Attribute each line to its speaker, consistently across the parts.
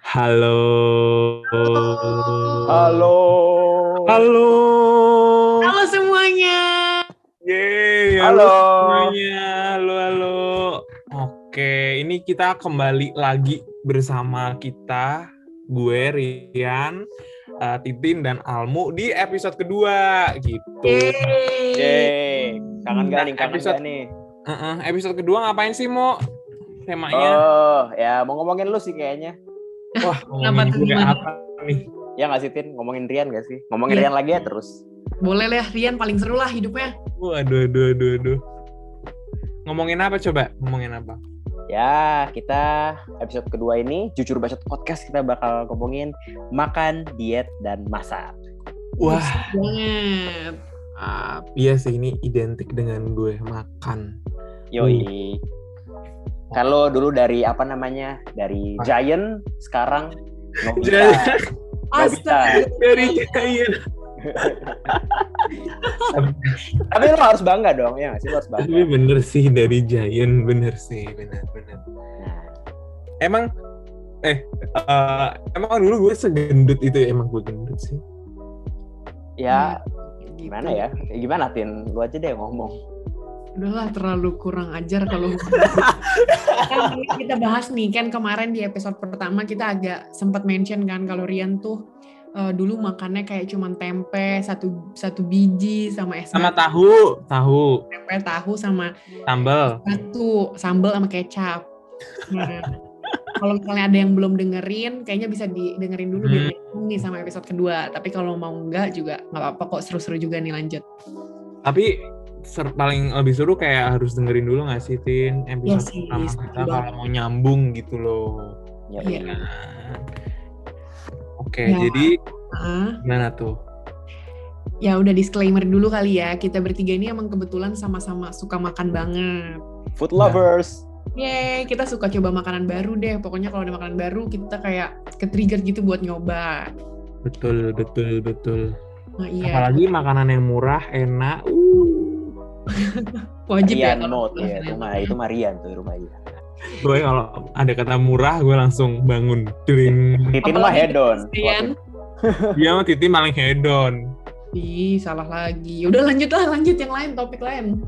Speaker 1: Halo.
Speaker 2: Halo.
Speaker 1: Halo.
Speaker 3: Halo semuanya.
Speaker 1: Yeay,
Speaker 2: Halo.
Speaker 1: semuanya. Halo, halo. Oke, ini kita kembali lagi bersama kita, gue Rian, eh, Titin dan Almu di episode kedua gitu.
Speaker 3: Yeay.
Speaker 2: Yeay.
Speaker 3: Hmm.
Speaker 2: Kangen gak nih, kangen
Speaker 1: Episode-
Speaker 2: gak nih?
Speaker 1: Eh, eh, episode kedua ngapain sih, Mo? Temanya?
Speaker 2: Oh, ya mau ngomongin lu sih kayaknya. Eh,
Speaker 1: Wah,
Speaker 3: kenapa
Speaker 1: ngomongin
Speaker 3: tuh
Speaker 1: gue
Speaker 3: gimana?
Speaker 1: apa nih?
Speaker 2: Ya gak sih, Tin? Ngomongin Rian gak sih? Ngomongin
Speaker 3: Iya.
Speaker 2: Rian lagi ya terus.
Speaker 3: Boleh lah Rian paling seru lah hidupnya.
Speaker 1: Waduh, aduh, aduh, aduh. Ngomongin apa coba? Ngomongin apa?
Speaker 2: Ya, kita episode kedua ini, Jujur Bacot Podcast, kita bakal ngomongin makan, diet, dan masak.
Speaker 1: Wah,
Speaker 3: Seru banget.
Speaker 1: Ah, iya sih ini identik dengan gue makan.
Speaker 2: Yoi.
Speaker 3: Hmm.
Speaker 2: Kalau dulu dari apa namanya? Dari
Speaker 3: Ah.
Speaker 2: Giant, sekarang Nobita.
Speaker 3: Astaga.
Speaker 1: Dari cair.
Speaker 2: Tapi lo harus bangga dong, ya gak sih? Lo harus bangga.
Speaker 3: Iya.
Speaker 1: Tapi bener sih dari Giant bener sih bener bener.
Speaker 2: Nah,
Speaker 1: Emang eh eh, emang dulu gue segendut itu ya? emang gue gendut sih.
Speaker 2: ya,
Speaker 3: Gitu.
Speaker 2: gimana ya? Gimana, Tin? Lu aja deh yang ngomong.
Speaker 3: Udahlah terlalu kurang ajar kalau Kan ini kita bahas nih kan kemarin di episode pertama kita agak sempat mention kan kalau Rian tuh eh, dulu makannya kayak cuman tempe satu satu biji sama es
Speaker 1: Sama
Speaker 3: batu,
Speaker 1: tahu tahu
Speaker 3: tempe tahu sama
Speaker 1: sambal.
Speaker 3: satu sambal sama kecap. Nah, kalau misalnya ada yang belum dengerin, kayaknya bisa didengerin dulu
Speaker 2: Hmm.
Speaker 3: biar nyambung nih sama episode kedua. Tapi kalau mau enggak juga nggak apa-apa kok seru-seru juga nih lanjut.
Speaker 1: Tapi ser- paling lebih seru kayak harus dengerin dulu nggak sih Tin episode
Speaker 3: Iya sih,
Speaker 1: pertama
Speaker 3: setuju
Speaker 1: kita
Speaker 3: banget.
Speaker 1: kalau mau nyambung gitu loh.
Speaker 2: Yoi.
Speaker 3: Iya.
Speaker 1: Nah. Oke,
Speaker 3: Ya.
Speaker 1: jadi
Speaker 3: Ah,
Speaker 1: gimana tuh?
Speaker 3: ya udah disclaimer dulu kali ya. Kita bertiga ini emang kebetulan sama-sama suka makan banget.
Speaker 2: Food lovers.
Speaker 3: Yeay, kita suka coba makanan baru deh. Pokoknya kalau ada makanan baru kita kayak ke-trigger gitu buat nyoba.
Speaker 1: Betul, betul, betul.
Speaker 3: Nah, iya.
Speaker 1: Apalagi makanan yang murah, enak. Uh.
Speaker 3: Wajib ya
Speaker 2: Rian
Speaker 3: kalau
Speaker 2: mode ya,
Speaker 3: makanan
Speaker 2: itu
Speaker 3: enak.
Speaker 2: mah itu mah Rian tuh rumah Rian.
Speaker 1: Gue kalau ada kata murah, gue langsung bangun. Dring.
Speaker 2: Titin mah
Speaker 3: Apalagi
Speaker 2: hedon.
Speaker 3: Rian.
Speaker 1: Dia sama Titi maling hedon.
Speaker 3: Ih, salah lagi. Ya Udah lanjut lah, lanjut yang lain, topik lain.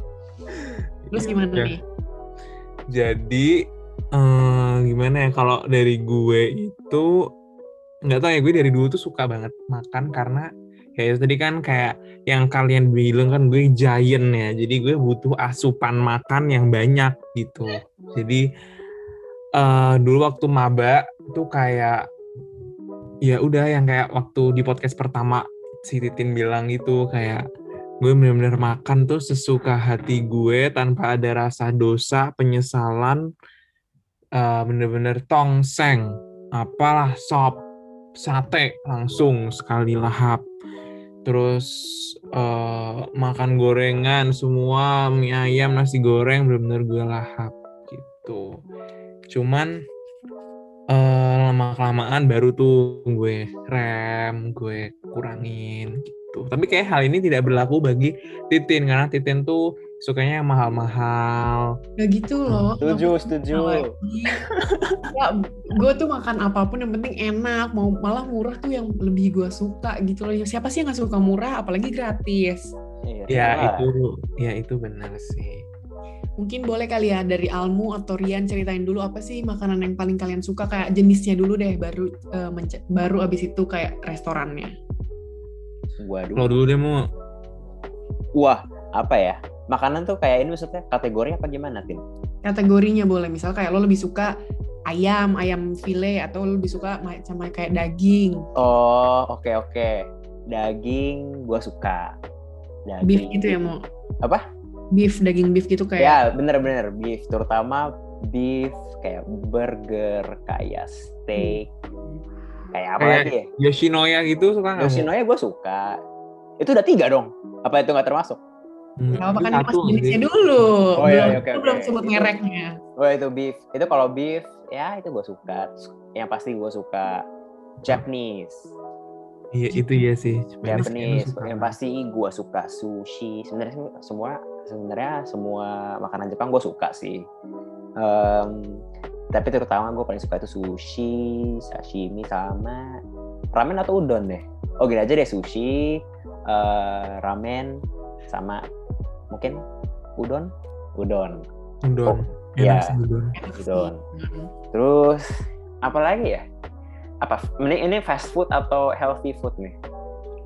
Speaker 3: Terus gimana
Speaker 1: Ya.
Speaker 3: nih?
Speaker 1: Jadi, eh, gimana ya, kalau dari gue itu, nggak tahu ya, gue dari dulu tuh suka banget makan karena kayak tadi kan kayak yang kalian bilang kan gue giant ya, jadi gue butuh asupan makan yang banyak gitu. Jadi, eh, dulu waktu maba tuh kayak ya udah yang kayak waktu di podcast pertama si Titin bilang gitu kayak gue bener-bener makan tuh sesuka hati gue tanpa ada rasa dosa penyesalan eh, bener-bener tongseng apalah sop sate langsung sekali lahap terus eh, makan gorengan semua mie ayam nasi goreng bener-bener gue lahap gitu cuman eh, lama kelamaan baru tuh gue rem gue kurangin gitu tapi kayak hal ini tidak berlaku bagi Titin karena Titin tuh sukanya yang mahal-mahal
Speaker 3: Gak gitu loh.
Speaker 2: Setuju, setuju.
Speaker 3: ya, gue tuh makan apapun yang penting enak. Mau malah murah tuh yang lebih gue suka gitu loh. Siapa sih yang gak suka murah, apalagi gratis?
Speaker 2: Iya,
Speaker 1: ya
Speaker 2: lah.
Speaker 1: itu ya itu benar sih
Speaker 3: Mungkin boleh kali ya dari Almu atau Rian ceritain dulu apa sih makanan yang paling kalian suka kayak jenisnya dulu deh, baru eh, mence- baru abis itu kayak restorannya.
Speaker 2: Waduh.
Speaker 1: kalau dulu deh mau
Speaker 2: Wah, apa ya? Makanan tuh kayak ini maksudnya kategori apa gimana, Tin?
Speaker 3: Kategorinya boleh, misal kayak lo lebih suka ayam, ayam file atau lo lebih suka ma- sama kayak daging.
Speaker 2: Oh, oke oke. Daging gua suka. Daging.
Speaker 3: beef gitu ya mau
Speaker 2: Apa?
Speaker 3: beef daging beef gitu
Speaker 2: Ya,
Speaker 3: kayak
Speaker 2: bener-bener beef terutama beef kayak burger, kayak steak, kayak apa
Speaker 1: Kayak-
Speaker 2: lagi ya?
Speaker 1: Yoshinoya gitu suka nggak? Mu?
Speaker 2: Yoshinoya gua suka. Itu udah tiga dong. Apa itu nggak termasuk?
Speaker 1: Hmm,
Speaker 3: Gak apa kan
Speaker 1: satu
Speaker 3: mas jenisnya
Speaker 1: sih.
Speaker 3: dulu
Speaker 2: Oh, iya, iya, oke,
Speaker 3: belum,
Speaker 2: oke.
Speaker 3: belum sebut mereknya
Speaker 2: Oh itu beef. Itu kalau beef, ya itu gue suka. Yang pasti gue suka Japanese,
Speaker 1: Iya itu ya sih.
Speaker 2: Iya, Japanese.
Speaker 1: suka.
Speaker 2: Yang pasti gue suka sushi. Sebenarnya sih semua sebenarnya semua makanan Jepang gue suka sih. Em, tapi terutama gue paling suka itu sushi sashimi sama ramen atau udon deh oh gini aja deh sushi eh, ramen sama mungkin udon udon
Speaker 1: Udon.
Speaker 2: iya.
Speaker 1: Enak sih udon.
Speaker 3: Enak sih.
Speaker 2: Udon.
Speaker 3: Mm.
Speaker 2: terus apa lagi ya apa ini, ini fast food atau healthy food nih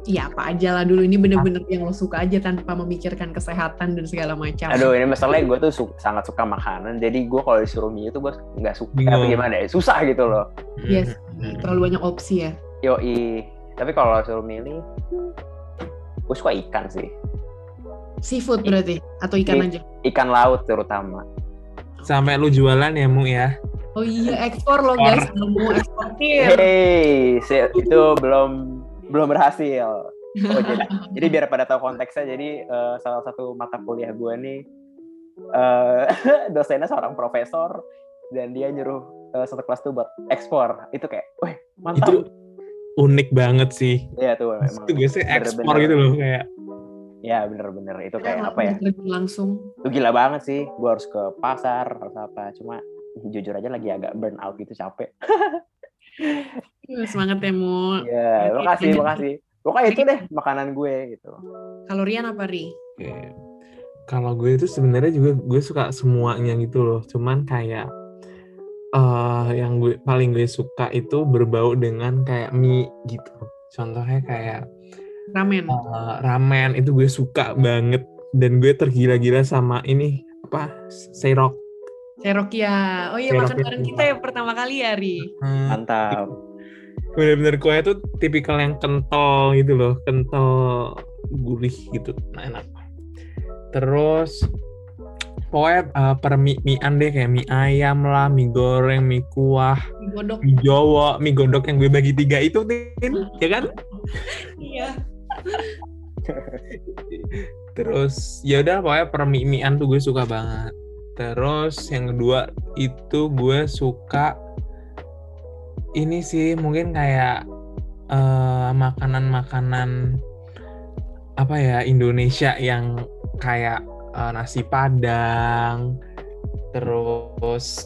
Speaker 3: Iya apa aja lah dulu ini bener-bener yang lo suka aja tanpa memikirkan kesehatan dan segala macam.
Speaker 2: Aduh ini masalahnya gue tuh su- sangat suka makanan Jadi gue kalau disuruh mie itu gue nggak suka
Speaker 1: Bingung.
Speaker 2: Tapi gimana ya susah gitu loh
Speaker 3: Yes,
Speaker 1: Mm.
Speaker 3: Iya terlalu banyak opsi ya.
Speaker 2: Yoi Tapi kalau disuruh milih Gue suka ikan sih
Speaker 3: Seafood berarti atau ikan
Speaker 2: Iya.
Speaker 3: aja.
Speaker 2: Ikan laut terutama
Speaker 1: Sampai lu jualan ya Mu ya.
Speaker 3: Oh iya ekspor lo guys, Kalau mau eksportir.
Speaker 2: Hey, se- itu belum belum berhasil. Oh, jadi, jadi biar pada tahu konteksnya, jadi eh, salah satu mata kuliah gue nih eh, dosennya seorang profesor dan dia nyuruh eh, satu kelas tuh buat ekspor. Itu kayak, wih mantap.
Speaker 1: Itu unik banget sih.
Speaker 2: Iya tuh memang.
Speaker 1: Itu biasanya ekspor gitu loh kayak.
Speaker 2: Ya bener-bener itu kayak
Speaker 3: Kita
Speaker 2: apa ya?
Speaker 3: terjun langsung.
Speaker 2: Itu gila banget sih. Gue harus ke pasar harus apa. Cuma jujur aja lagi agak burn out gitu capek.
Speaker 3: Iya, Semangat ya mau.
Speaker 2: Iya,
Speaker 3: Oke,
Speaker 2: makasih,
Speaker 3: lanjut.
Speaker 2: makasih. Pokoknya itu deh makanan gue gitu.
Speaker 3: Kalorian apa Ri?
Speaker 1: Oke. Iya. Kalau gue itu sebenarnya juga gue suka semuanya gitu loh. Cuman kayak eh yang gue paling gue suka itu berbau dengan kayak mie gitu. Contohnya kayak
Speaker 3: Ramen.
Speaker 1: eh, ramen itu gue suka banget dan gue tergila-gila sama ini apa serok
Speaker 3: Serokia. Oh iya
Speaker 1: Serokia.
Speaker 3: makan bareng kita ya pertama kali ya Ri.
Speaker 1: Hmm,
Speaker 2: Mantap.
Speaker 1: bener-bener kuahnya tuh tipikal yang kental gitu loh kental gurih gitu nah, enak terus pokoknya eh, permi-mian deh kayak mie ayam lah mie goreng mie kuah
Speaker 3: Godok.
Speaker 1: mie jawa mie godok yang gue bagi tiga itu Tin, ya kan
Speaker 3: Iya.
Speaker 1: Terus ya udah pokoknya permimian tuh gue suka banget. Terus yang kedua itu gue suka ini sih mungkin kayak eh, makanan-makanan apa ya Indonesia yang kayak eh, nasi padang, terus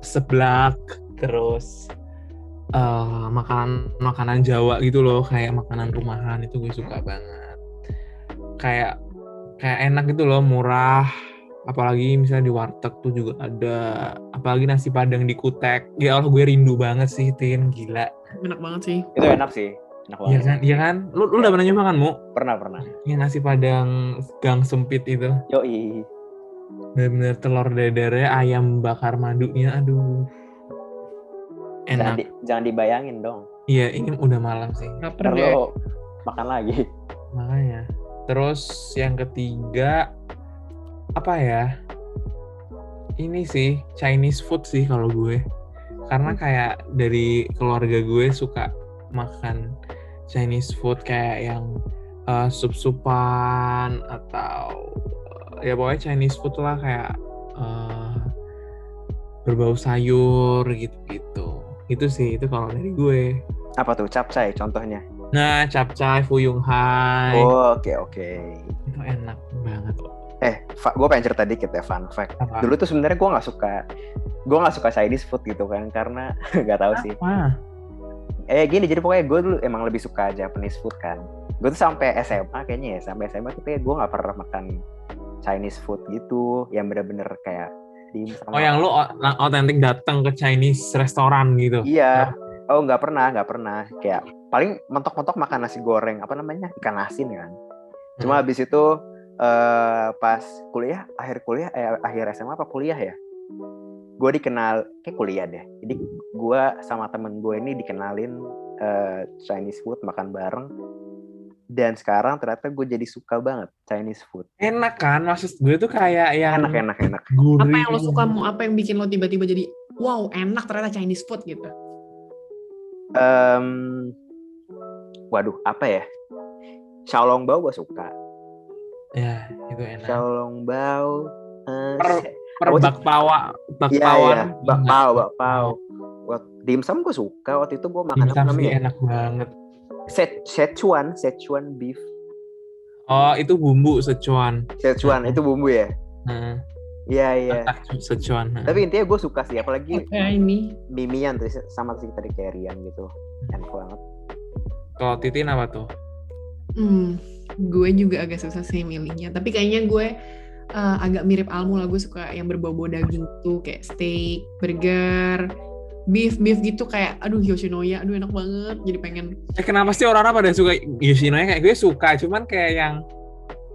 Speaker 1: seblak, terus eh, makanan-makanan Jawa gitu loh kayak makanan rumahan itu gue suka banget kayak kayak enak gitu loh murah apalagi misalnya di warteg tuh juga ada apalagi nasi padang di kutek ya Allah gue rindu banget sih Tin gila
Speaker 3: Enak banget sih.
Speaker 2: Itu enak sih. Enak
Speaker 1: iya
Speaker 2: banget.
Speaker 1: kan iya kan lu, lu udah pernah nyoba kan mu
Speaker 2: Pernah pernah.
Speaker 1: yang nasi padang gang sempit itu
Speaker 2: Yoi.
Speaker 1: bener-bener telur dadarnya ayam bakar madunya aduh enak
Speaker 2: Jangan, di- jangan dibayangin dong.
Speaker 1: iya ini udah malam sih
Speaker 2: Ntar
Speaker 3: Kapan
Speaker 2: lo
Speaker 1: ya?
Speaker 2: makan lagi.
Speaker 1: makanya terus yang ketiga apa ya ini sih Chinese food sih kalau gue karena kayak dari keluarga gue suka makan Chinese food kayak yang eh, sup-supan atau eh, ya pokoknya Chinese food lah kayak eh, berbau sayur gitu-gitu itu sih itu kalau dari gue
Speaker 2: Apa tuh capcay contohnya?
Speaker 1: nah capcay fuyung hai
Speaker 2: Oh, Oke oke.
Speaker 1: itu enak banget
Speaker 2: Eh, gue pengen cerita dikit ya fun fact.
Speaker 1: apa
Speaker 2: Dulu tuh sebenarnya gue nggak suka gue nggak suka Chinese food gitu kan karena nggak tahu sih.
Speaker 1: Wah,
Speaker 2: Eh gini jadi pokoknya gue dulu emang lebih suka Japanese food kan. Gue tuh sampai SMA kayaknya ya sampai SMA tuh kayak gue nggak pernah makan Chinese food gitu yang bener-bener kayak di
Speaker 1: oh yang lu o- lang- otentik datang ke Chinese restoran gitu
Speaker 2: Iya. Oh nggak pernah, nggak pernah. Kayak paling mentok-mentok makan nasi goreng apa namanya ikan asin kan. Cuma
Speaker 1: Hmm.
Speaker 2: habis itu eh pas kuliah, akhir kuliah, eh, akhir SMA apa kuliah ya? Gue dikenal kayak kuliah deh. Jadi gue sama temen gue ini dikenalin eh, Chinese food makan bareng. Dan sekarang ternyata gue jadi suka banget Chinese food.
Speaker 1: enak kan maksud gue tuh kayak yang
Speaker 2: Enak, enak, enak.
Speaker 1: gurih
Speaker 3: apa yang lo suka mau apa yang bikin lo tiba-tiba jadi wow enak ternyata Chinese food gitu.
Speaker 2: Em, waduh, apa ya? Xiaolongbao gue suka.
Speaker 1: ya itu enak
Speaker 2: Xiaolongbao. eh,
Speaker 1: Per-
Speaker 2: se-
Speaker 1: per
Speaker 2: Apa tuh?
Speaker 1: bakpawa
Speaker 2: Iya,
Speaker 1: bakpawan
Speaker 2: iya. Bakpao, bakpao. Wak- Dimsum gue suka. Waktu itu gue makan apa
Speaker 1: dimsum sih
Speaker 2: namanya? ya?
Speaker 1: enak banget
Speaker 2: Se- Szechuan, Szechuan beef.
Speaker 1: oh itu bumbu Sichuan
Speaker 2: Szechuan itu bumbu ya.
Speaker 1: nah,
Speaker 2: Iya iya.
Speaker 1: Entah Sichuan.
Speaker 2: Tapi intinya gue suka sih, apalagi
Speaker 3: Ya ini
Speaker 2: mimian tuh sama sih tadi carryan gitu.
Speaker 1: Hmm.
Speaker 2: Enak banget.
Speaker 1: Kalau Titin apa tuh?
Speaker 3: Hmm, gue juga agak susah sih milihnya. Tapi kayaknya gue eh, agak mirip Almu lah. Gue suka yang berbau-bau daging gitu, kayak steak, burger, beef, beef gitu. Kayak, aduh Yoshinoya, aduh enak banget. Jadi pengen.
Speaker 1: Eh kenapa sih orang-orang pada suka Yoshinoya kayak gue suka, cuman kayak yang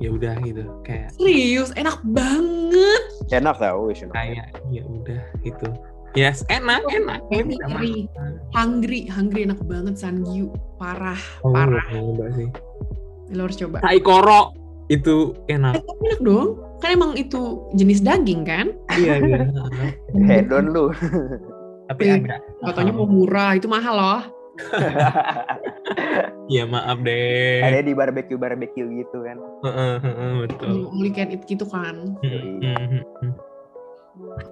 Speaker 1: ya udah gitu, kayak
Speaker 3: Serius, enak banget.
Speaker 2: Enak tau Yoshinoya.
Speaker 1: kayak ya udah gitu. Yes, enak, enak.
Speaker 3: Iya,
Speaker 1: Gue bisa
Speaker 3: Iri.
Speaker 1: makan.
Speaker 3: Hungry, hungry enak banget. Sangyu, parah.
Speaker 1: Oh, gue
Speaker 3: Parah.
Speaker 1: belum nyoba sih.
Speaker 3: Lo harus coba.
Speaker 1: Saikoro itu
Speaker 3: Eh,
Speaker 1: enak.
Speaker 3: tapi enak dong. Kan emang itu jenis daging kan?
Speaker 1: Iya, iya.
Speaker 2: Hedon lu.
Speaker 1: Tapi Oh,
Speaker 3: Iya.
Speaker 1: ada.
Speaker 3: Katanya mau murah, itu mahal loh.
Speaker 1: Iya, maaf deh.
Speaker 2: Ada di barbecue barbecue gitu kan.
Speaker 1: Heeh, heeh, Betul. hmm,
Speaker 3: Yang Only can eat gitu kan.
Speaker 1: Heeh, heeh, heeh.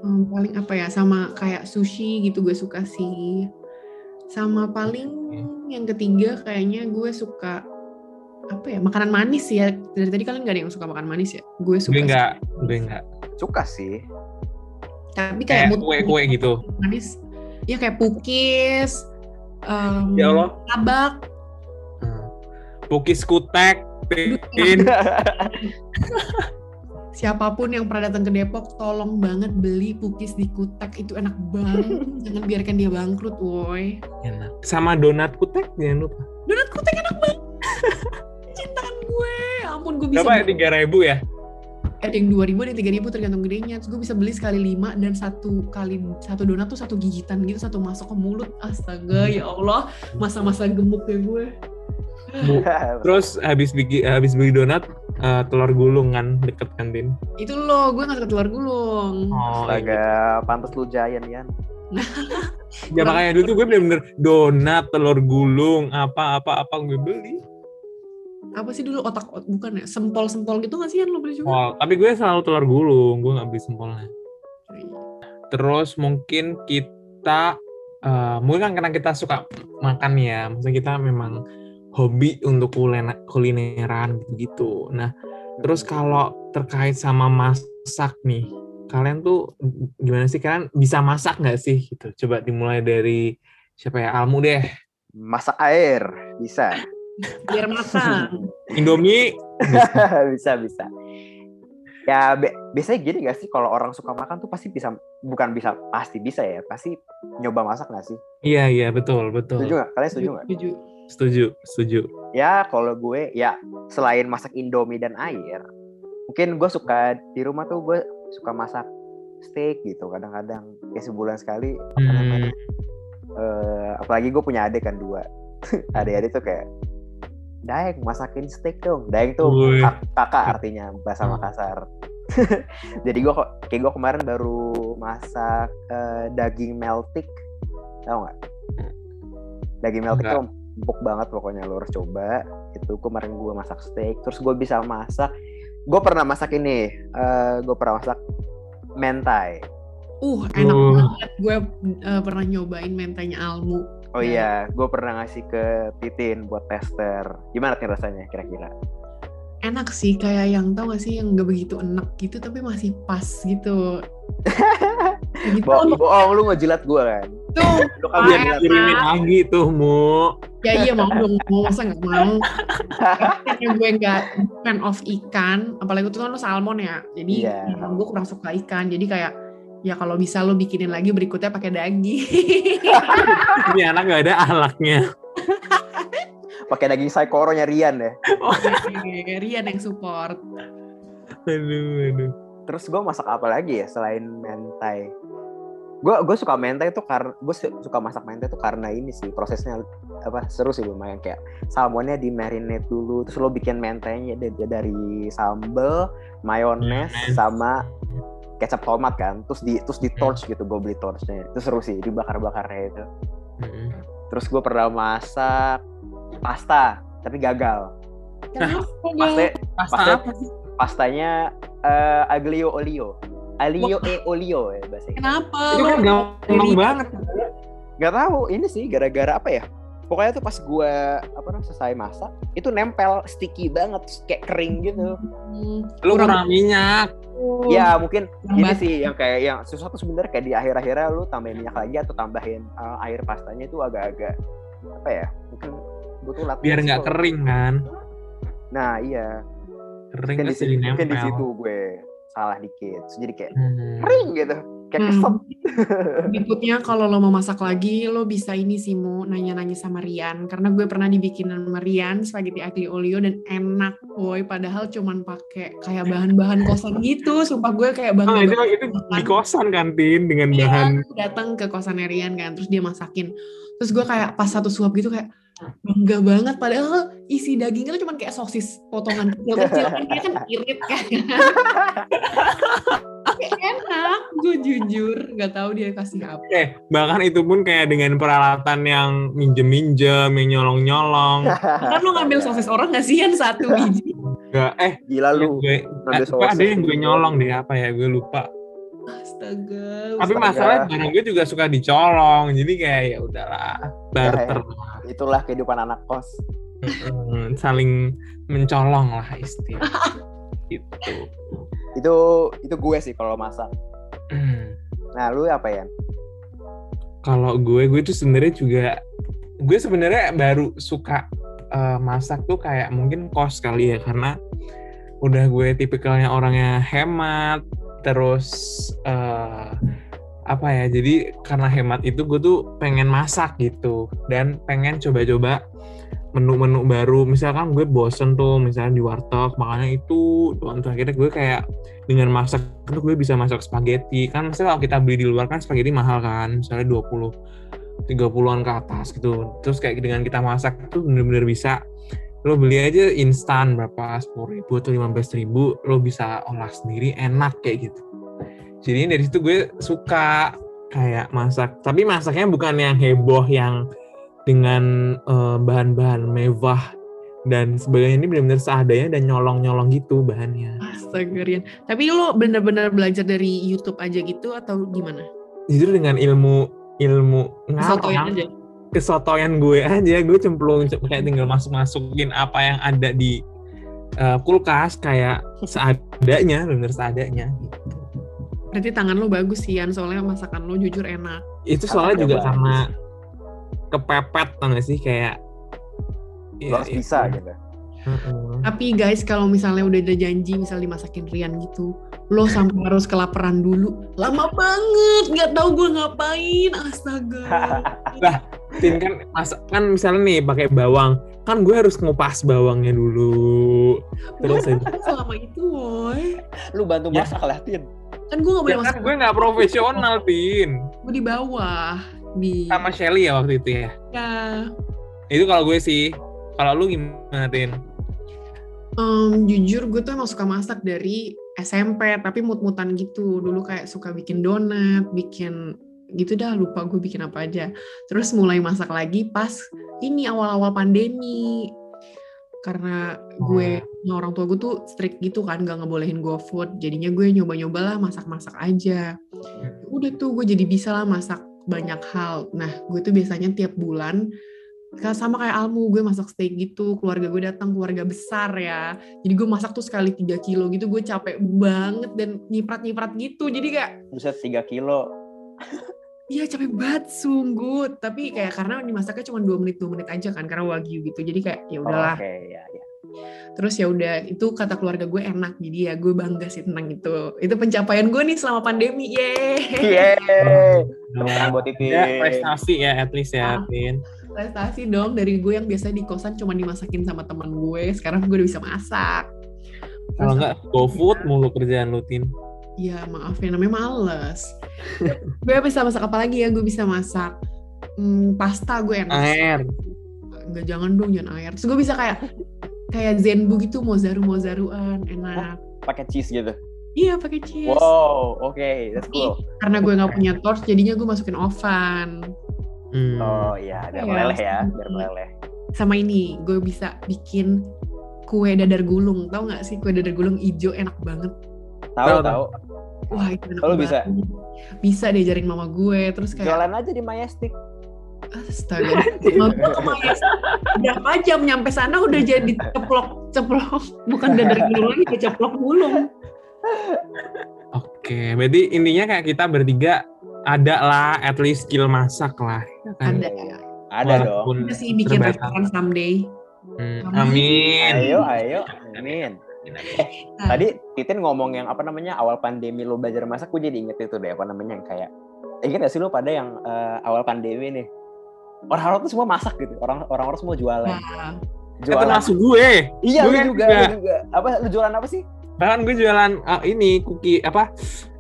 Speaker 3: Hmm, paling apa ya sama kayak sushi gitu gue suka sih sama paling yang ketiga kayaknya gue suka apa ya makanan manis sih ya dari tadi kalian gak ada yang suka makan manis ya gue suka
Speaker 1: Gue
Speaker 3: sih.
Speaker 1: enggak, gue enggak.
Speaker 2: Suka sih.
Speaker 3: tapi kayak
Speaker 1: Kayak
Speaker 3: mood-
Speaker 1: kue-kue gitu.
Speaker 3: manis ya kayak pukis em,
Speaker 1: Ya Allah.
Speaker 3: tabak
Speaker 1: Hmm. Pukis kutek, Tin.
Speaker 3: siapapun yang pernah datang ke Depok tolong banget beli pukis di Kutek itu enak banget jangan biarkan dia bangkrut woi
Speaker 1: Enak. Sama donat kutek jangan lupa.
Speaker 3: donat Kutek enak banget cintaan gue Ya ampun gue bisa
Speaker 1: Berapa ya? Tiga ribu ya?
Speaker 3: ada yang 2000 ada yang 3000 tergantung gedenya terus gue bisa beli sekali 5 dan satu kali satu donat tuh satu gigitan gitu satu masuk ke mulut astaga ya Allah masa-masa gemuk ya gue
Speaker 1: Terus habis bikin habis beli donat eh, telur gulung kan deket kantin.
Speaker 3: itu loh gue gak suka telur gulung
Speaker 1: Oh,
Speaker 2: Agak pantas lu giant kan.
Speaker 1: Ya makanya dulu tuh gue bener-bener donat, telur gulung, apa-apa apa gue beli.
Speaker 3: apa sih dulu otak ot- bukan ya sempol-sempol gitu gak sih yang lo beli juga
Speaker 1: Oh, tapi gue selalu telur gulung, gue nggak beli sempolnya.
Speaker 3: Iya.
Speaker 1: Terus mungkin kita eh, mungkin kan karena kita suka makan ya, maksudnya kita memang hobi untuk kuliner kulineran gitu. Nah, terus kalau terkait sama masak nih, kalian tuh gimana sih kalian bisa masak nggak sih gitu? Coba dimulai dari siapa ya Almu deh.
Speaker 2: masak air bisa.
Speaker 3: biar matang
Speaker 1: Indomie
Speaker 2: bisa bisa ya be- biasanya gini gak sih kalau orang suka makan tuh pasti bisa bukan bisa pasti bisa ya pasti nyoba masak gak sih
Speaker 1: Iya iya betul
Speaker 2: setuju
Speaker 1: betul.
Speaker 2: gak kalian setuju gak
Speaker 3: Setuju.
Speaker 1: Setuju setuju.
Speaker 2: ya kalau gue ya selain masak indomie dan air mungkin gue suka di rumah tuh gue suka masak steak gitu kadang-kadang ya sebulan sekali apa
Speaker 1: Hmm.
Speaker 2: namanya Eh, apalagi gue punya adik kan dua adik-adik tuh kayak Daeng masakin steak dong Daeng tuh
Speaker 1: Wih.
Speaker 2: kak- kakak artinya bahasa
Speaker 1: Hmm.
Speaker 2: Makassar jadi gue kok kayak gue kemarin baru masak eh, daging meltik tau nggak daging meltik
Speaker 1: Nggak.
Speaker 2: tuh empuk banget pokoknya lo harus coba itu kemarin gue masak steak terus gue bisa masak gue pernah masak ini eh, gue pernah masak mentai
Speaker 3: uh enak
Speaker 1: Uh.
Speaker 3: banget gue eh, pernah nyobain mentanya Almu
Speaker 2: oh
Speaker 3: Ya.
Speaker 2: iya gue pernah ngasih ke titin buat tester gimana nih rasanya kira-kira
Speaker 3: enak sih kayak yang tau gak sih yang gak begitu enak gitu tapi masih pas gitu Gitu,
Speaker 2: Bo- bohong lu ngejilat gue kan
Speaker 3: tuh
Speaker 2: lu kan
Speaker 3: Ah,
Speaker 1: Biar
Speaker 2: ngejilat.
Speaker 1: dikirimin lagi tuh mu.
Speaker 3: ya iya mau dong mau masa nggak mau karena gue nggak fan of ikan apalagi itu kan lo salmon ya jadi
Speaker 2: Iya.
Speaker 3: ya, gue kurang suka ikan jadi kayak ya kalau bisa lo bikinin lagi berikutnya pakai daging
Speaker 1: Ini anak gak ada alaknya.
Speaker 2: pakai daging saikoronya Rian ya
Speaker 3: Rian yang support
Speaker 1: Aduh aduh.
Speaker 2: Terus gue masak apa lagi ya selain mentai? Gue gue suka mentai tuh karena gue suka masak mentai tuh karena ini sih prosesnya apa seru sih lumayan kayak salmonnya di marinate dulu terus lo bikin mentainya dari, dari sambel, mayones
Speaker 1: Mayones.
Speaker 2: sama kecap tomat kan terus di terus di torch gitu gue beli torchnya itu seru sih dibakar-bakarnya itu
Speaker 1: Mm-mm.
Speaker 2: terus gue pernah masak pasta tapi gagal
Speaker 3: Kenapa
Speaker 2: pasti Pasta-
Speaker 1: Pasta apa sih?
Speaker 2: pastanya eh, aglio olio aglio e olio ya bahasa Inggris.
Speaker 3: kenapa
Speaker 1: Itu
Speaker 3: lo
Speaker 1: kan gampang banget.
Speaker 2: Gak tahu ini sih gara-gara apa ya? pokoknya tuh pas gue apa namanya selesai masak itu nempel sticky banget terus kayak kering gitu
Speaker 3: Hmm,
Speaker 1: Lu kurang minyak.
Speaker 2: ya mungkin
Speaker 3: Kurang
Speaker 2: ini
Speaker 3: banget.
Speaker 2: sih yang kayak yang susah tuh sebenarnya kayak di akhir-akhirnya lu tambahin minyak lagi atau tambahin uh, air pastanya itu agak-agak apa ya mungkin butuh latihan
Speaker 1: Biar
Speaker 2: sih
Speaker 1: nggak
Speaker 2: kalau-
Speaker 1: kering kan.
Speaker 2: nah iya
Speaker 1: Kering
Speaker 2: mungkin di
Speaker 1: terus
Speaker 2: situ
Speaker 1: jadi
Speaker 2: mungkin di
Speaker 1: nempel.
Speaker 2: situ gue salah dikit Terus jadi kayak
Speaker 1: Hmm.
Speaker 2: kering gitu kayak
Speaker 3: Hmm.
Speaker 2: kesel
Speaker 3: Berikutnya kalau lo mau masak lagi, lo bisa ini sih mau nanya-nanya sama Rian. Karena gue pernah dibikinin sama Rian spaghetti aglio olio dan enak boy. Padahal cuman pakai kayak bahan-bahan kosan gitu. Sumpah gue kayak bangga
Speaker 1: Oh, itu,
Speaker 3: banget
Speaker 1: itu di
Speaker 3: makan.
Speaker 1: kosan kantin dengan
Speaker 3: Iya,
Speaker 1: bahan
Speaker 3: terus datang ke kosannya Rian kan terus dia masakin terus gue kayak pas satu suap gitu kayak bangga banget padahal isi dagingnya tuh cuman kayak sosis potongan kecil-kecil kan dia kan irit kan Kayak enak gue jujur nggak tahu dia kasih apa
Speaker 1: Eh, bahkan itu pun kayak dengan peralatan yang minjem-minjem, yang nyolong-nyolong.
Speaker 3: kan lo ngambil sosis orang nggak sih yang satu biji
Speaker 1: Gak, eh,
Speaker 2: gila
Speaker 1: yang
Speaker 2: lu
Speaker 1: gue,
Speaker 2: ngambil
Speaker 1: eh, gue ada
Speaker 2: sosis.
Speaker 1: yang gue nyolong deh, apa ya, gue lupa.
Speaker 3: astaga
Speaker 1: Tapi
Speaker 2: Astaga.
Speaker 1: masalahnya barang gue juga suka dicolong, jadi kayak ya udahlah,
Speaker 2: Iya,
Speaker 1: barter.
Speaker 2: itulah kehidupan anak kos
Speaker 1: Mm, saling mencolong lah istilah. gitu.
Speaker 2: itu itu gue sih kalau masak
Speaker 1: Mm.
Speaker 2: nah lu apa ya
Speaker 1: Kalau gue, gue tuh sebenarnya juga, gue sebenarnya baru suka eh, masak tuh kayak mungkin kos kali ya, karena udah gue tipikalnya orangnya hemat terus eh, apa ya jadi karena hemat itu gue tuh pengen masak gitu dan pengen coba-coba menu-menu baru misalkan gue bosen tuh misalnya di warteg makanya itu doang tuh akhirnya gue kayak dengan masak tuh gue bisa masak spaghetti kan misalnya kalau kita beli di luar kan spaghetti mahal kan misalnya 20 30-an ke atas gitu terus kayak dengan kita masak tuh bener-bener bisa lo beli aja instan berapa sepuluh ribu atau lima ribu lo bisa olah sendiri enak kayak gitu jadi dari situ gue suka kayak masak tapi masaknya bukan yang heboh yang dengan eh, bahan-bahan mewah dan sebagainya ini benar-benar seadanya dan nyolong-nyolong gitu bahannya
Speaker 3: astaga Rian tapi lo bener-bener belajar dari YouTube aja gitu atau gimana
Speaker 1: jujur dengan ilmu ilmu
Speaker 3: Sotoin
Speaker 1: ngarang
Speaker 3: aja
Speaker 1: kesotoyan gue aja gue cemplung cem- kayak tinggal masuk masukin apa yang ada di eh, kulkas kayak seadanya bener seadanya
Speaker 3: berarti tangan lo bagus sih Yan soalnya masakan lo jujur enak
Speaker 1: itu
Speaker 2: Karena
Speaker 1: soalnya
Speaker 2: udah
Speaker 1: juga
Speaker 2: bagus.
Speaker 1: karena kepepet tau gak sih kayak
Speaker 2: lu harus bisa
Speaker 1: gitu.
Speaker 2: gitu
Speaker 3: Tapi guys, kalau misalnya udah ada janji, misal dimasakin Rian gitu, lo sampai harus kelaparan dulu. Lama banget, nggak tahu gue ngapain. Astaga.
Speaker 1: Lah. Tin kan mas kan misalnya nih pakai bawang kan gue harus ngupas bawangnya dulu terus
Speaker 3: Gue selama itu, woy.
Speaker 2: lu bantu
Speaker 1: Ya.
Speaker 2: masak lah Tin
Speaker 3: Kan gue nggak boleh
Speaker 1: ya kan
Speaker 3: masak.
Speaker 1: gue nggak profesional Tin
Speaker 3: Gue di bawah. Di...
Speaker 1: sama Shelly ya waktu itu ya
Speaker 3: Ya.
Speaker 1: itu kalau gue sih kalau lu gimana Tin
Speaker 3: Em, jujur gue tuh emang suka masak dari SMP, tapi mut-mutan gitu. Dulu kayak suka bikin donat, bikin gitu dah lupa gue bikin apa aja. Terus mulai masak lagi pas ini awal-awal pandemi. Karena gue nah orang tua gue tuh strict gitu kan, gak ngebolehin go food. Jadinya gue nyoba-nyobalah masak-masak aja. Udah tuh gue jadi bisa lah masak banyak hal. Nah gue tuh biasanya tiap bulan Ka- sama kayak Almu gue masak steak gitu keluarga gue datang keluarga besar ya jadi gue masak tuh sekali 3 kilo gitu gue capek banget dan nyiprat nyiprat gitu jadi kayak
Speaker 2: buset 3 kilo
Speaker 3: iya capek banget sungguh tapi kayak karena dimasaknya cuma 2 menit 2 menit aja kan karena wagyu gitu jadi kayak ya
Speaker 2: Oh,
Speaker 3: udahlah
Speaker 2: oke ya, ya.
Speaker 1: Oh.
Speaker 3: terus ya udah itu kata keluarga gue enak jadi ya gue bangga sih tentang itu itu pencapaian gue nih selama pandemi
Speaker 1: Iya.
Speaker 3: yeay
Speaker 2: Yeay.
Speaker 1: ya,
Speaker 2: Tepuk tangan Iya. buat Titin.
Speaker 1: prestasi ya at least
Speaker 2: Ah.
Speaker 1: ya Tin
Speaker 3: prestasi dong dari gue yang biasa di kosan cuma dimasakin sama teman gue sekarang gue udah bisa masak
Speaker 1: kalau nggak go food mulu kerjaan lu Tin
Speaker 3: ya maaf ya namanya males gue bisa masak apa lagi ya gue bisa masak hmm, pasta gue enak
Speaker 1: air
Speaker 3: nggak jangan dong jangan air terus gue bisa kayak kayak zenbu gitu mozaru mozaruan enak
Speaker 2: pakai cheese gitu
Speaker 3: iya pakai cheese
Speaker 2: wow oke that's
Speaker 3: Tapi
Speaker 2: cool
Speaker 3: karena gue nggak punya torch jadinya gue masukin oven
Speaker 1: Hmm.
Speaker 2: oh iya
Speaker 3: Iya.
Speaker 2: biar meleleh ya biar meleleh
Speaker 3: sama ini gue bisa bikin kue dadar gulung tau nggak sih kue dadar gulung ijo enak banget
Speaker 1: Tahu,
Speaker 2: tahu tahu
Speaker 3: wah itu enak
Speaker 2: Oh, lu
Speaker 3: banget.
Speaker 2: bisa?
Speaker 3: bisa diajarin mama gue terus kayak
Speaker 2: jualan aja di Majestic
Speaker 3: Astaga. Mama ya. Berapa jam nyampe sana udah jadi ceplok ceplok bukan dadar gulung lagi udah ceplok gulung.
Speaker 1: Oke, berarti intinya kayak kita bertiga ada lah at least skill masak lah. ya kan?
Speaker 3: Ada.
Speaker 2: Ada dong.
Speaker 1: Walaupun
Speaker 3: Kita sih bikin
Speaker 1: terbatas.
Speaker 3: restoran someday.
Speaker 1: Hmm,
Speaker 3: Amin.
Speaker 1: amin.
Speaker 2: Ayo, ayo. Amin. Tadi Titin ngomong yang apa namanya awal pandemi lo belajar masak, gue jadi inget itu deh apa namanya yang kayak inget gak sih lo pada yang eh, awal pandemi nih orang-orang tuh semua masak gitu, orang orang-orang semua
Speaker 1: Iya.
Speaker 2: jualan.
Speaker 3: Nah,
Speaker 1: Eh,
Speaker 2: Jualan.
Speaker 1: termasuk gue.
Speaker 2: iya,
Speaker 1: gue
Speaker 2: lu juga,
Speaker 1: juga.
Speaker 2: lu juga. Apa lu jualan apa sih?
Speaker 1: Bahkan gue jualan eh, ini cookie apa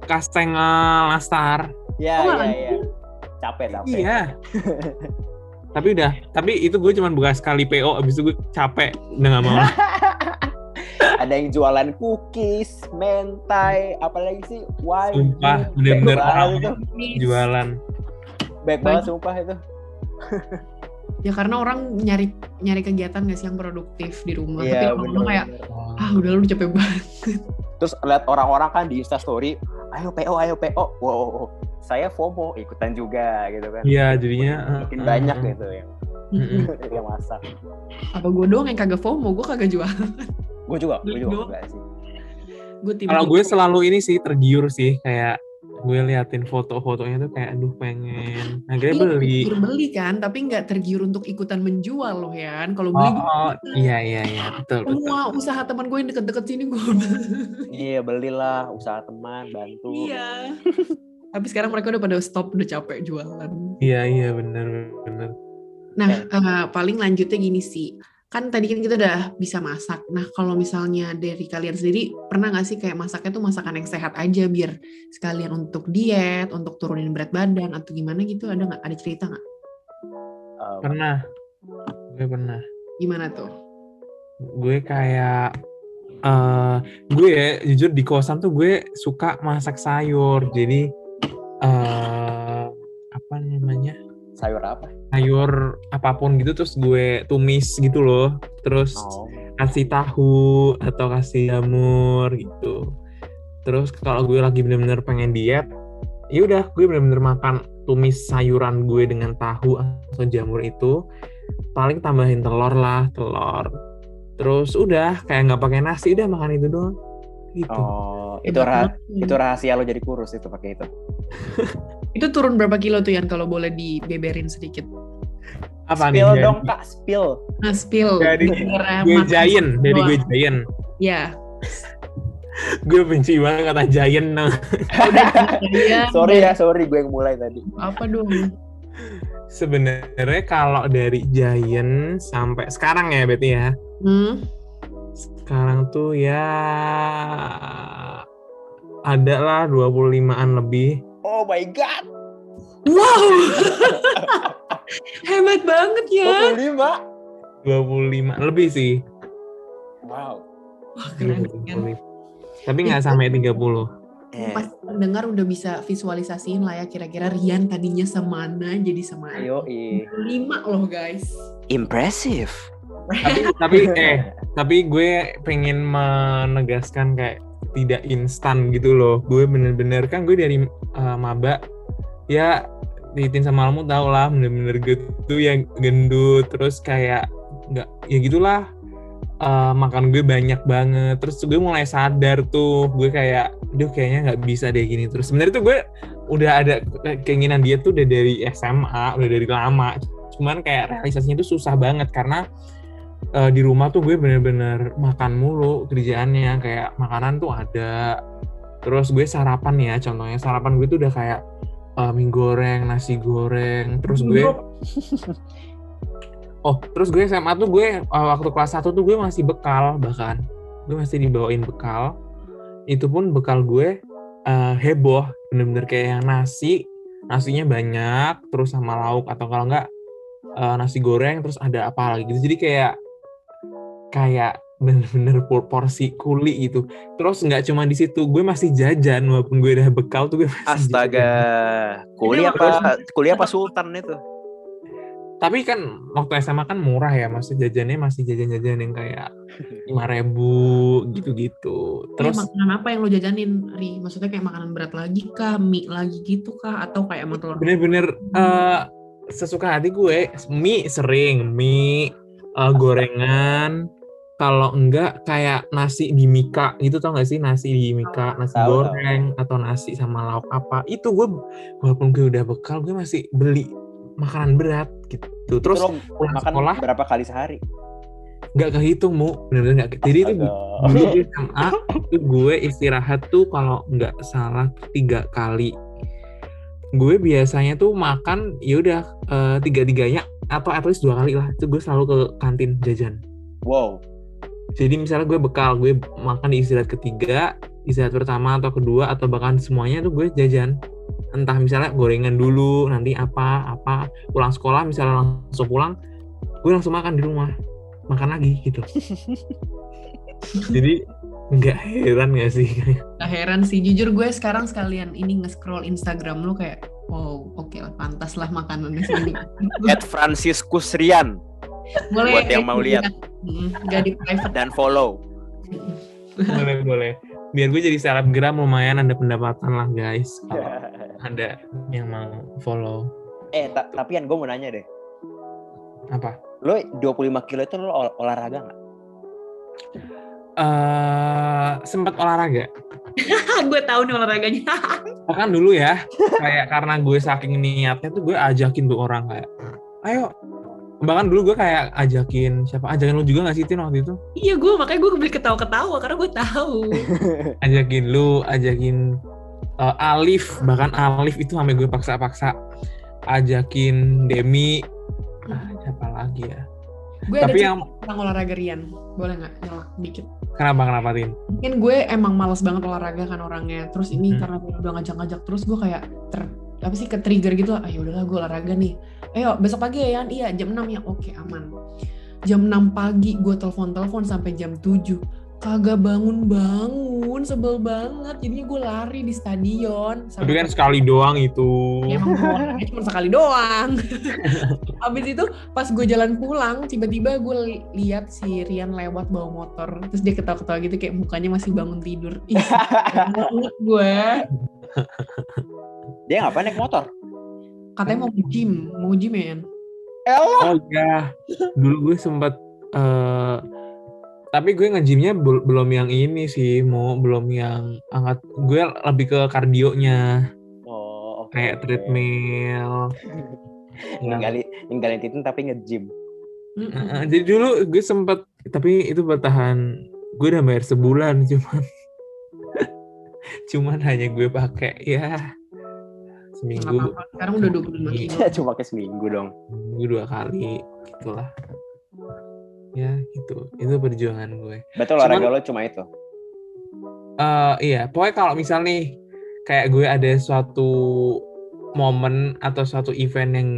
Speaker 1: kasteng eh, nastar.
Speaker 2: Ya,
Speaker 3: Oh,
Speaker 2: ya, ya. Capek, capek.
Speaker 1: Iya. tapi udah, tapi itu gue cuman buka sekali PO abis itu gue capek udah gak mau.
Speaker 2: Ada yang jualan cookies, mentai, apalagi sih? Wine.
Speaker 1: Sumpah,
Speaker 2: Baik
Speaker 1: bener-bener
Speaker 2: banget
Speaker 1: orang
Speaker 2: itu.
Speaker 1: jualan.
Speaker 2: Baik banget sumpah itu.
Speaker 3: Ya karena orang nyari nyari kegiatan gak sih yang produktif di rumah. Tapi
Speaker 2: Iya,
Speaker 3: lama-lama kayak
Speaker 2: bener.
Speaker 3: ah udah lu capek banget.
Speaker 2: terus lihat orang-orang kan di Insta Story, ayo PO, ayo PO, wow, saya FOMO ikutan juga gitu kan.
Speaker 1: Iya, jadinya
Speaker 2: Makin
Speaker 1: eh,
Speaker 2: banyak
Speaker 1: eh,
Speaker 2: gitu yang
Speaker 1: Mm-mm.
Speaker 2: yang masak.
Speaker 3: Apa gue doang yang kagak FOMO, gue kagak jual.
Speaker 2: Gue juga, gue juga
Speaker 3: Gua-
Speaker 2: enggak sih.
Speaker 3: Gue tim.
Speaker 1: Kalau gue selalu ini sih tergiur sih kayak gue liatin foto-fotonya tuh kayak aduh pengen akhirnya
Speaker 3: Iya,
Speaker 1: beli
Speaker 3: tergiur beli kan, tapi nggak tergiur untuk ikutan menjual loh ya.
Speaker 1: oh,
Speaker 3: Kalau beli
Speaker 1: oh, iya iya iya betul betul
Speaker 3: semua usaha teman gue yang deket-deket sini gue beli.
Speaker 2: Iya belilah usaha teman bantu.
Speaker 3: Iya. Tapi sekarang mereka udah pada stop, udah capek jualan.
Speaker 1: iya iya bener bener
Speaker 3: Nah,
Speaker 2: Eh.
Speaker 3: eh, paling lanjutnya gini sih. Kan tadi kan kita udah bisa masak. Nah, kalau misalnya dari kalian sendiri, pernah nggak sih kayak masaknya tuh masakan yang sehat aja biar sekalian untuk diet, untuk turunin berat badan, atau gimana gitu? Ada nggak? Ada cerita nggak?
Speaker 2: Um,
Speaker 1: pernah gue pernah
Speaker 3: Gimana tuh?
Speaker 1: gue kayak eh gue ya, jujur di kosan tuh gue suka masak sayur jadi eh apa namanya
Speaker 2: sayur apa?
Speaker 1: sayur apapun gitu terus gue tumis gitu loh terus
Speaker 2: Oh.
Speaker 1: kasih tahu atau kasih jamur gitu terus kalau gue lagi bener-bener pengen diet ya udah gue bener-bener makan tumis sayuran gue dengan tahu atau jamur itu paling tambahin telur lah telur terus udah kayak nggak pakai nasi udah makan itu doang gitu
Speaker 2: Oh, itu
Speaker 3: Hebat
Speaker 2: rah
Speaker 3: banget.
Speaker 2: itu rahasia lo jadi kurus itu pakai itu.
Speaker 3: Itu turun berapa kilo tuh Yan kalau boleh dibeberin sedikit?
Speaker 1: apa nih
Speaker 2: spill
Speaker 1: jadi-
Speaker 2: dong kak, spill.
Speaker 3: Nah, spill.
Speaker 1: Jadi,
Speaker 3: Gara-gara
Speaker 1: gue
Speaker 3: makan
Speaker 1: jayen dari gue
Speaker 3: doang.
Speaker 1: jayen
Speaker 3: Ya,
Speaker 1: gue benci banget kata jayen nah.
Speaker 3: ya
Speaker 2: sorry ya, sorry gue yang mulai tadi.
Speaker 3: Apa dong?
Speaker 1: sebenarnya kalau dari jayen sampai sekarang ya berarti ya
Speaker 3: Hmm?
Speaker 1: sekarang tuh ya ada lah 25-an lebih.
Speaker 2: Oh my god,
Speaker 3: Wow. Hebat banget ya.
Speaker 2: Oh, 25.
Speaker 1: 25 lebih sih.
Speaker 2: Wow.
Speaker 3: Wah, keren kan.
Speaker 1: 25. Tapi nggak sampai 30.
Speaker 2: Eh,
Speaker 3: Pas pendengar udah bisa visualisasiin lah ya kira-kira Rian tadinya semana jadi semana.
Speaker 2: ayo, ih.
Speaker 3: Lima loh guys.
Speaker 2: impressive.
Speaker 1: tapi tapi eh tapi gue pengen menegaskan kayak tidak instan gitu loh. Gue bener-bener kan gue dari eh, maba ya Titin sama Almu tau lah bener-bener gitu yang gendut terus kayak nggak ya gitulah eh, makan gue banyak banget terus gue mulai sadar tuh gue kayak duh kayaknya nggak bisa deh gini terus sebenarnya tuh gue udah ada keinginan dia tuh udah dari SMA udah dari lama cuman kayak realisasinya tuh susah banget karena eh, di rumah tuh gue bener-bener makan mulu kerjaannya kayak makanan tuh ada terus gue sarapan ya contohnya sarapan gue tuh udah kayak eh, mie goreng nasi goreng terus gue oh terus gue SMA tuh gue eh, waktu kelas 1 tuh gue masih bekal bahkan gue masih dibawain bekal itu pun bekal gue eh, heboh bener-bener kayak yang nasi nasinya banyak terus sama lauk atau kalau enggak eh, nasi goreng terus ada apa lagi gitu jadi kayak kayak bener-bener por- porsi kuli gitu terus nggak cuma di situ gue masih jajan walaupun gue udah bekal tuh gue masih
Speaker 2: Astaga,
Speaker 1: jajan.
Speaker 2: kuliah apa kuliah apa sultan itu?
Speaker 1: tapi kan waktu SMA kan murah ya maksudnya jajannya masih jajan-jajan yang kayak lima ribu gitu-gitu
Speaker 2: Iya,
Speaker 3: Terus
Speaker 1: terus
Speaker 3: makanan apa yang lo jajanin, Ri? Maksudnya kayak makanan berat lagi kah, mie lagi gitu kah atau kayak emang telur?
Speaker 1: bener-bener eh, sesuka hati gue mie sering mie eh, gorengan kalau enggak kayak nasi di mika gitu tau gak sih nasi di mika nasi
Speaker 2: Tahu,
Speaker 1: goreng atau nasi sama lauk apa itu gue walaupun gue udah bekal gue masih beli makanan berat gitu
Speaker 2: Terus
Speaker 1: terus pulang
Speaker 2: makan
Speaker 1: sekolah
Speaker 2: berapa kali sehari?
Speaker 1: nggak kehitung mu bener-bener nggak ke- jadi itu dulu di SMA tuh gue istirahat tuh kalau nggak salah tiga kali gue biasanya tuh makan ya udah tiga tiganya atau at least dua kali lah itu gue selalu ke kantin jajan
Speaker 2: Wow.
Speaker 1: jadi misalnya gue bekal gue makan di istirahat ketiga istirahat pertama atau kedua atau bahkan semuanya tuh gue jajan entah misalnya gorengan dulu nanti apa apa pulang sekolah misalnya langsung pulang gue langsung makan di rumah makan lagi gitu jadi nggak heran nggak sih
Speaker 3: Gak heran sih, jujur gue sekarang sekalian ini nge-scroll Instagram lu kayak, wow, oke lah, pantas lah makanannya sini.
Speaker 2: At Franciscus Rian
Speaker 3: Boleh.
Speaker 2: Buat yang mau lihat.
Speaker 3: Mm, Gak di private.
Speaker 2: dan follow.
Speaker 1: boleh boleh biar gue jadi selebgram lumayan ada pendapatan lah guys kalau ada yang mau follow
Speaker 2: Ya. eh ta- tapi kan gue mau nanya deh.
Speaker 1: apa
Speaker 2: Lo 25 kilo itu lo ol- olahraga nggak?
Speaker 1: eh sempat olahraga
Speaker 3: Ah, gue tahu nih olahraganya.
Speaker 1: bahkan dulu ya kayak karena gue saking niatnya tuh gue ajakin tuh orang kayak ayo bahkan dulu gue kayak ajakin siapa ajakin lu juga gak sih Tin waktu itu
Speaker 3: iya gue makanya gue beli ketawa-ketawa karena gue tahu.
Speaker 1: ajakin lu ajakin eh, Alif bahkan Alif itu sampai gue paksa-paksa ajakin Demi ah, siapa lagi ya
Speaker 3: gue ada
Speaker 1: tapi yang
Speaker 3: cerita tentang olahraga Rian. Boleh nggak nyelak dikit?
Speaker 1: kenapa kenapa Tin
Speaker 3: Mungkin gue emang malas banget olahraga kan orangnya. Terus ini
Speaker 1: Hmm.
Speaker 3: karena dia udah ngajak-ngajak terus gue kayak ter apa sih ke trigger gitu ayo udahlah gue olahraga nih ayo besok pagi ya Yan iya jam 6 ya oke aman jam 6 pagi gue telepon-telepon sampai jam 7 kagak bangun-bangun sebel banget jadinya gue lari di stadion
Speaker 1: tapi
Speaker 3: Sampai-
Speaker 1: kan sekali doang itu
Speaker 3: Ya, emang boleh, cuma sekali doang. Abis itu pas gue jalan pulang, tiba-tiba gue li- lihat si Rian lewat bawa motor, terus dia ketawa-ketawa gitu kayak mukanya masih bangun tidur. Ih, banget gue.
Speaker 2: Dia ngapain naik motor?
Speaker 3: Katanya mau ke gym, mau gym ya. Yan?
Speaker 1: Oh iya, dulu gue sempat eh tapi gue ngejimnya bel- belum yang ini sih, mau belum yang angkat. Gue lebih ke kardionya
Speaker 2: Oh, oke.
Speaker 1: kayak
Speaker 2: oke.
Speaker 1: treadmill. Yang-
Speaker 2: Ninggalin ninggalin titin tapi nge-gym.
Speaker 1: Eh, eh, jadi dulu gue sempat tapi itu bertahan gue udah bayar sebulan cuman cuman hanya gue pakai ya
Speaker 3: Nggak
Speaker 1: seminggu
Speaker 3: apa-apa, Sekarang udah
Speaker 1: Iya,
Speaker 3: 25 kilo.
Speaker 2: Dia Ya, cuma pakai seminggu dong.
Speaker 1: seminggu dua kali gitulah ya gitu itu perjuangan gue
Speaker 2: Betul
Speaker 1: Cuman-
Speaker 2: olahraga lo cuma itu.
Speaker 1: Eh, iya, pokoknya kalau misal nih kayak gue ada suatu momen atau suatu event yang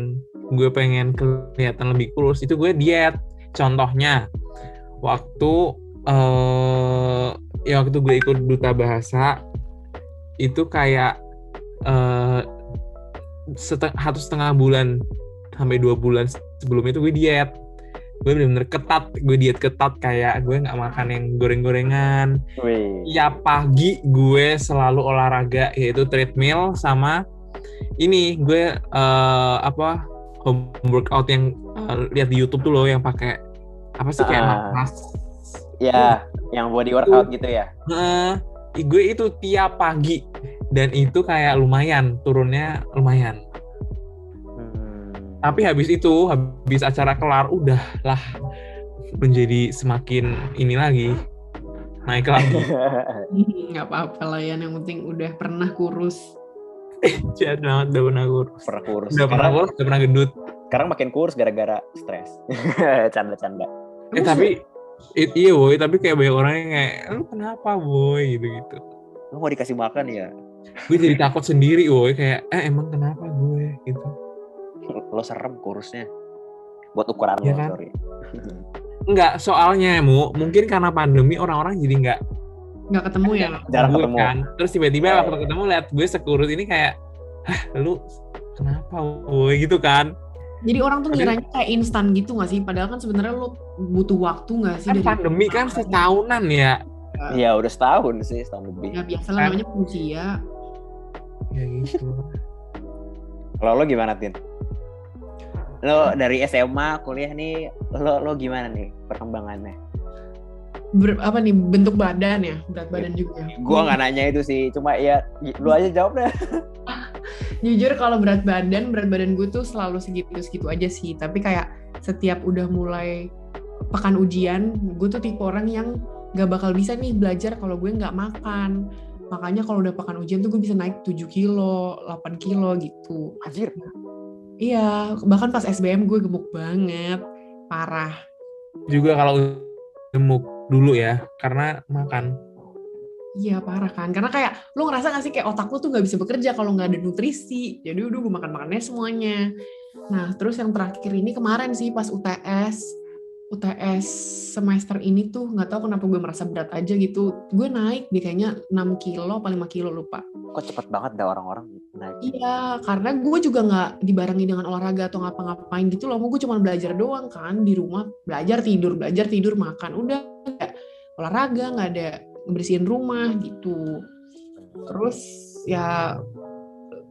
Speaker 1: gue pengen kelihatan lebih kurus itu gue diet. Contohnya waktu eh ya waktu gue ikut duta bahasa itu kayak eh sete- satu setengah bulan sampai dua bulan sebelum itu gue diet. Gue bener-bener ketat, gue diet ketat kayak gue nggak makan yang goreng-gorengan,
Speaker 2: Wih.
Speaker 1: tiap Ya, pagi gue selalu olahraga yaitu treadmill sama ini gue eh, apa home workout yang eh, lihat di YouTube tuh loh yang pakai apa sih kayak
Speaker 2: Ah.
Speaker 1: napas.
Speaker 2: Ya, yang body workout gitu ya.
Speaker 1: Heeh. gue itu tiap pagi dan itu kayak lumayan turunnya lumayan.
Speaker 2: Hmm.
Speaker 1: Tapi habis itu habis acara kelar udahlah menjadi semakin ini lagi naik lagi.
Speaker 3: Nggak apa-apa lah Yan, yang penting udah pernah kurus.
Speaker 1: Jahat banget Iya, udah pernah kurus.
Speaker 2: pernah kurus.
Speaker 1: Udah pernah
Speaker 2: Sekarang-
Speaker 1: kurus, udah pernah gendut.
Speaker 2: Sekarang makin kurus gara-gara stres. Canda-canda.
Speaker 1: Eh tapi it- iya boy, tapi kayak banyak orang yang kayak "Eh, lu kenapa boy gitu gitu.
Speaker 2: Lu mau dikasih makan ya?
Speaker 1: Gue jadi takut sendiri boy kayak eh emang kenapa gue gitu.
Speaker 2: Lo serem kurusnya. Buat ukuran
Speaker 1: Iya
Speaker 2: lo,
Speaker 1: kan?
Speaker 2: sorry.
Speaker 1: Enggak, soalnya mu mungkin karena pandemi orang-orang jadi enggak
Speaker 3: Nggak ketemu ya?
Speaker 2: Jarang
Speaker 1: gue
Speaker 2: ketemu.
Speaker 1: kan. Terus tiba-tiba
Speaker 2: Iya,
Speaker 1: waktu
Speaker 2: iya.
Speaker 1: ketemu lihat gue sekurus ini kayak Hah, lu kenapa boy gitu kan.
Speaker 3: Jadi orang tuh
Speaker 1: Tapi-
Speaker 3: ngiranya kayak instan gitu nggak sih? Padahal kan sebenarnya lo butuh waktu nggak sih?
Speaker 1: Kan
Speaker 3: dari-
Speaker 1: pandemi kan setahunan ya.
Speaker 2: Iya, udah setahun sih, setahun lebih.
Speaker 3: Ya biasa
Speaker 1: Kan.
Speaker 3: lah namanya manusia.
Speaker 1: Ya gitu.
Speaker 2: Kalau lo gimana, Tin? Lo dari SMA kuliah nih lo lo gimana nih perkembangannya?
Speaker 3: Ber- apa nih bentuk badan ya berat badan juga
Speaker 2: Iya. Gua nggak nanya itu sih, cuma ya lu aja jawab deh.
Speaker 3: jujur kalau berat badan berat badan gue tuh selalu segitu segitu aja sih tapi kayak setiap udah mulai pekan ujian gue tuh tipe orang yang gak bakal bisa nih belajar kalau gue nggak makan makanya kalau udah pekan ujian tuh gue bisa naik 7 kilo 8 kilo gitu
Speaker 2: Anjir.
Speaker 3: iya bahkan pas SBM gue gemuk banget parah
Speaker 1: Juga kalau gemuk dulu ya, karena makan.
Speaker 3: Iya parah kan, karena kayak lu ngerasa gak sih kayak otak lu tuh gak bisa bekerja kalau nggak ada nutrisi. Jadi udah gue makan makannya semuanya. Nah terus yang terakhir ini kemarin sih pas UTS, UTS semester ini tuh nggak tahu kenapa gue merasa berat aja gitu. Gue naik deh kayaknya 6 kilo, paling 5 kilo lupa.
Speaker 2: Kok cepet banget dah orang-orang naik.
Speaker 3: Iya, karena gue juga nggak dibarengi dengan olahraga atau ngapa-ngapain gitu loh. Gue cuma belajar doang kan di rumah, belajar tidur, belajar tidur makan, udah nggak olahraga, nggak ada bersihin rumah gitu. Terus ya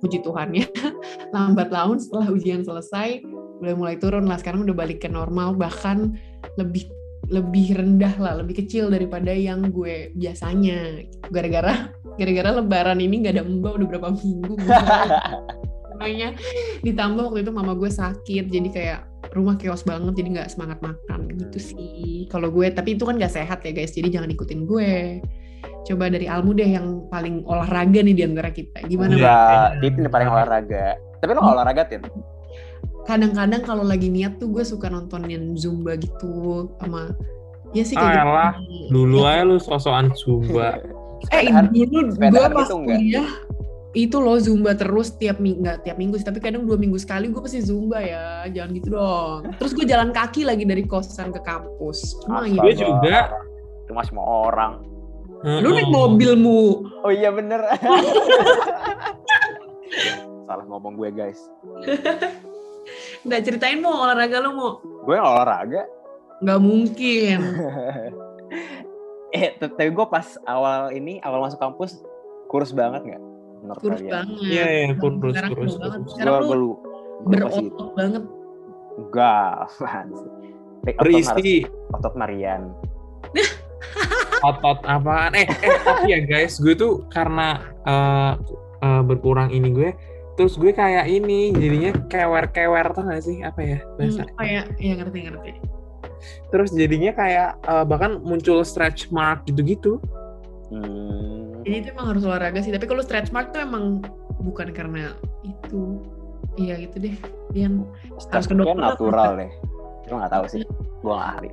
Speaker 3: puji Tuhannya lambat laun setelah ujian selesai udah mulai turun lah sekarang udah balik ke normal bahkan lebih lebih rendah lah lebih kecil daripada yang gue biasanya gara-gara gara-gara lebaran ini nggak ada mbak udah berapa minggu makanya ditambah waktu itu mama gue sakit jadi kayak rumah chaos banget jadi nggak semangat makan gitu sih kalau gue tapi itu kan nggak sehat ya guys jadi jangan ikutin gue coba dari Almu deh yang paling olahraga nih diantara kita gimana
Speaker 1: Iya.
Speaker 3: Mbak?
Speaker 2: Iya, Dit ini paling olahraga. Tapi lo nggak olahraga, Tin?
Speaker 3: kadang-kadang kalau lagi niat tuh gue suka nontonin zumba gitu sama ya
Speaker 1: Ah,
Speaker 3: sih kayak
Speaker 1: elah.
Speaker 3: gitu.
Speaker 1: Dulu aja lu sosokan zumba.
Speaker 3: eh
Speaker 2: Sepedaan-
Speaker 3: dulu gue
Speaker 2: sepedaan
Speaker 3: pas
Speaker 2: itu enggak?
Speaker 3: kuliah itu loh zumba terus tiap minggu nggak tiap minggu sih tapi kadang dua minggu sekali gue pasti zumba ya jangan gitu dong terus gue jalan kaki lagi dari kosan ke kampus Cuma gitu.
Speaker 2: Astaga.
Speaker 1: Gue juga.
Speaker 2: Cuma semua orang.
Speaker 3: lu
Speaker 1: Heeh.
Speaker 3: naik mobilmu
Speaker 2: Oh iya bener. Salah ngomong gue guys.
Speaker 3: nggak ceritain mau olahraga lu mau
Speaker 2: Gue olahraga.
Speaker 3: nggak mungkin
Speaker 2: Eh t- tapi gue pas awal ini awal masuk kampus kurus banget nggak? Menurut
Speaker 3: kurus
Speaker 2: kalian?
Speaker 3: banget
Speaker 1: Iya, iya, kurus,
Speaker 3: Hmm. sekarang
Speaker 1: kurus,
Speaker 3: kurus banget
Speaker 1: kurus.
Speaker 3: sekarang
Speaker 2: Gue
Speaker 3: lu
Speaker 2: lu
Speaker 3: berotot banget
Speaker 2: Enggak, apaan sih? Take otot Mar-
Speaker 1: Berisi
Speaker 2: Otot Marian.
Speaker 1: otot apaan? Eh, eh tapi ya guys, gue tuh karena eh, eh, berkurang ini gue, terus gue kayak ini jadinya kewer-kewer tuh gak sih apa ya bahasa?
Speaker 3: Hmm, kayak ya ngerti ngerti
Speaker 1: Terus jadinya kayak eh, bahkan muncul stretch mark gitu-gitu.
Speaker 2: Hmm.
Speaker 3: Jadi itu emang harus olahraga sih. Tapi kalau stretch mark tuh emang bukan karena itu. Iya gitu deh. Yang
Speaker 2: Stres
Speaker 3: ke dokter
Speaker 2: kan
Speaker 3: apa?
Speaker 2: natural deh. Lo nggak tahu sih. Gue nggak ahli.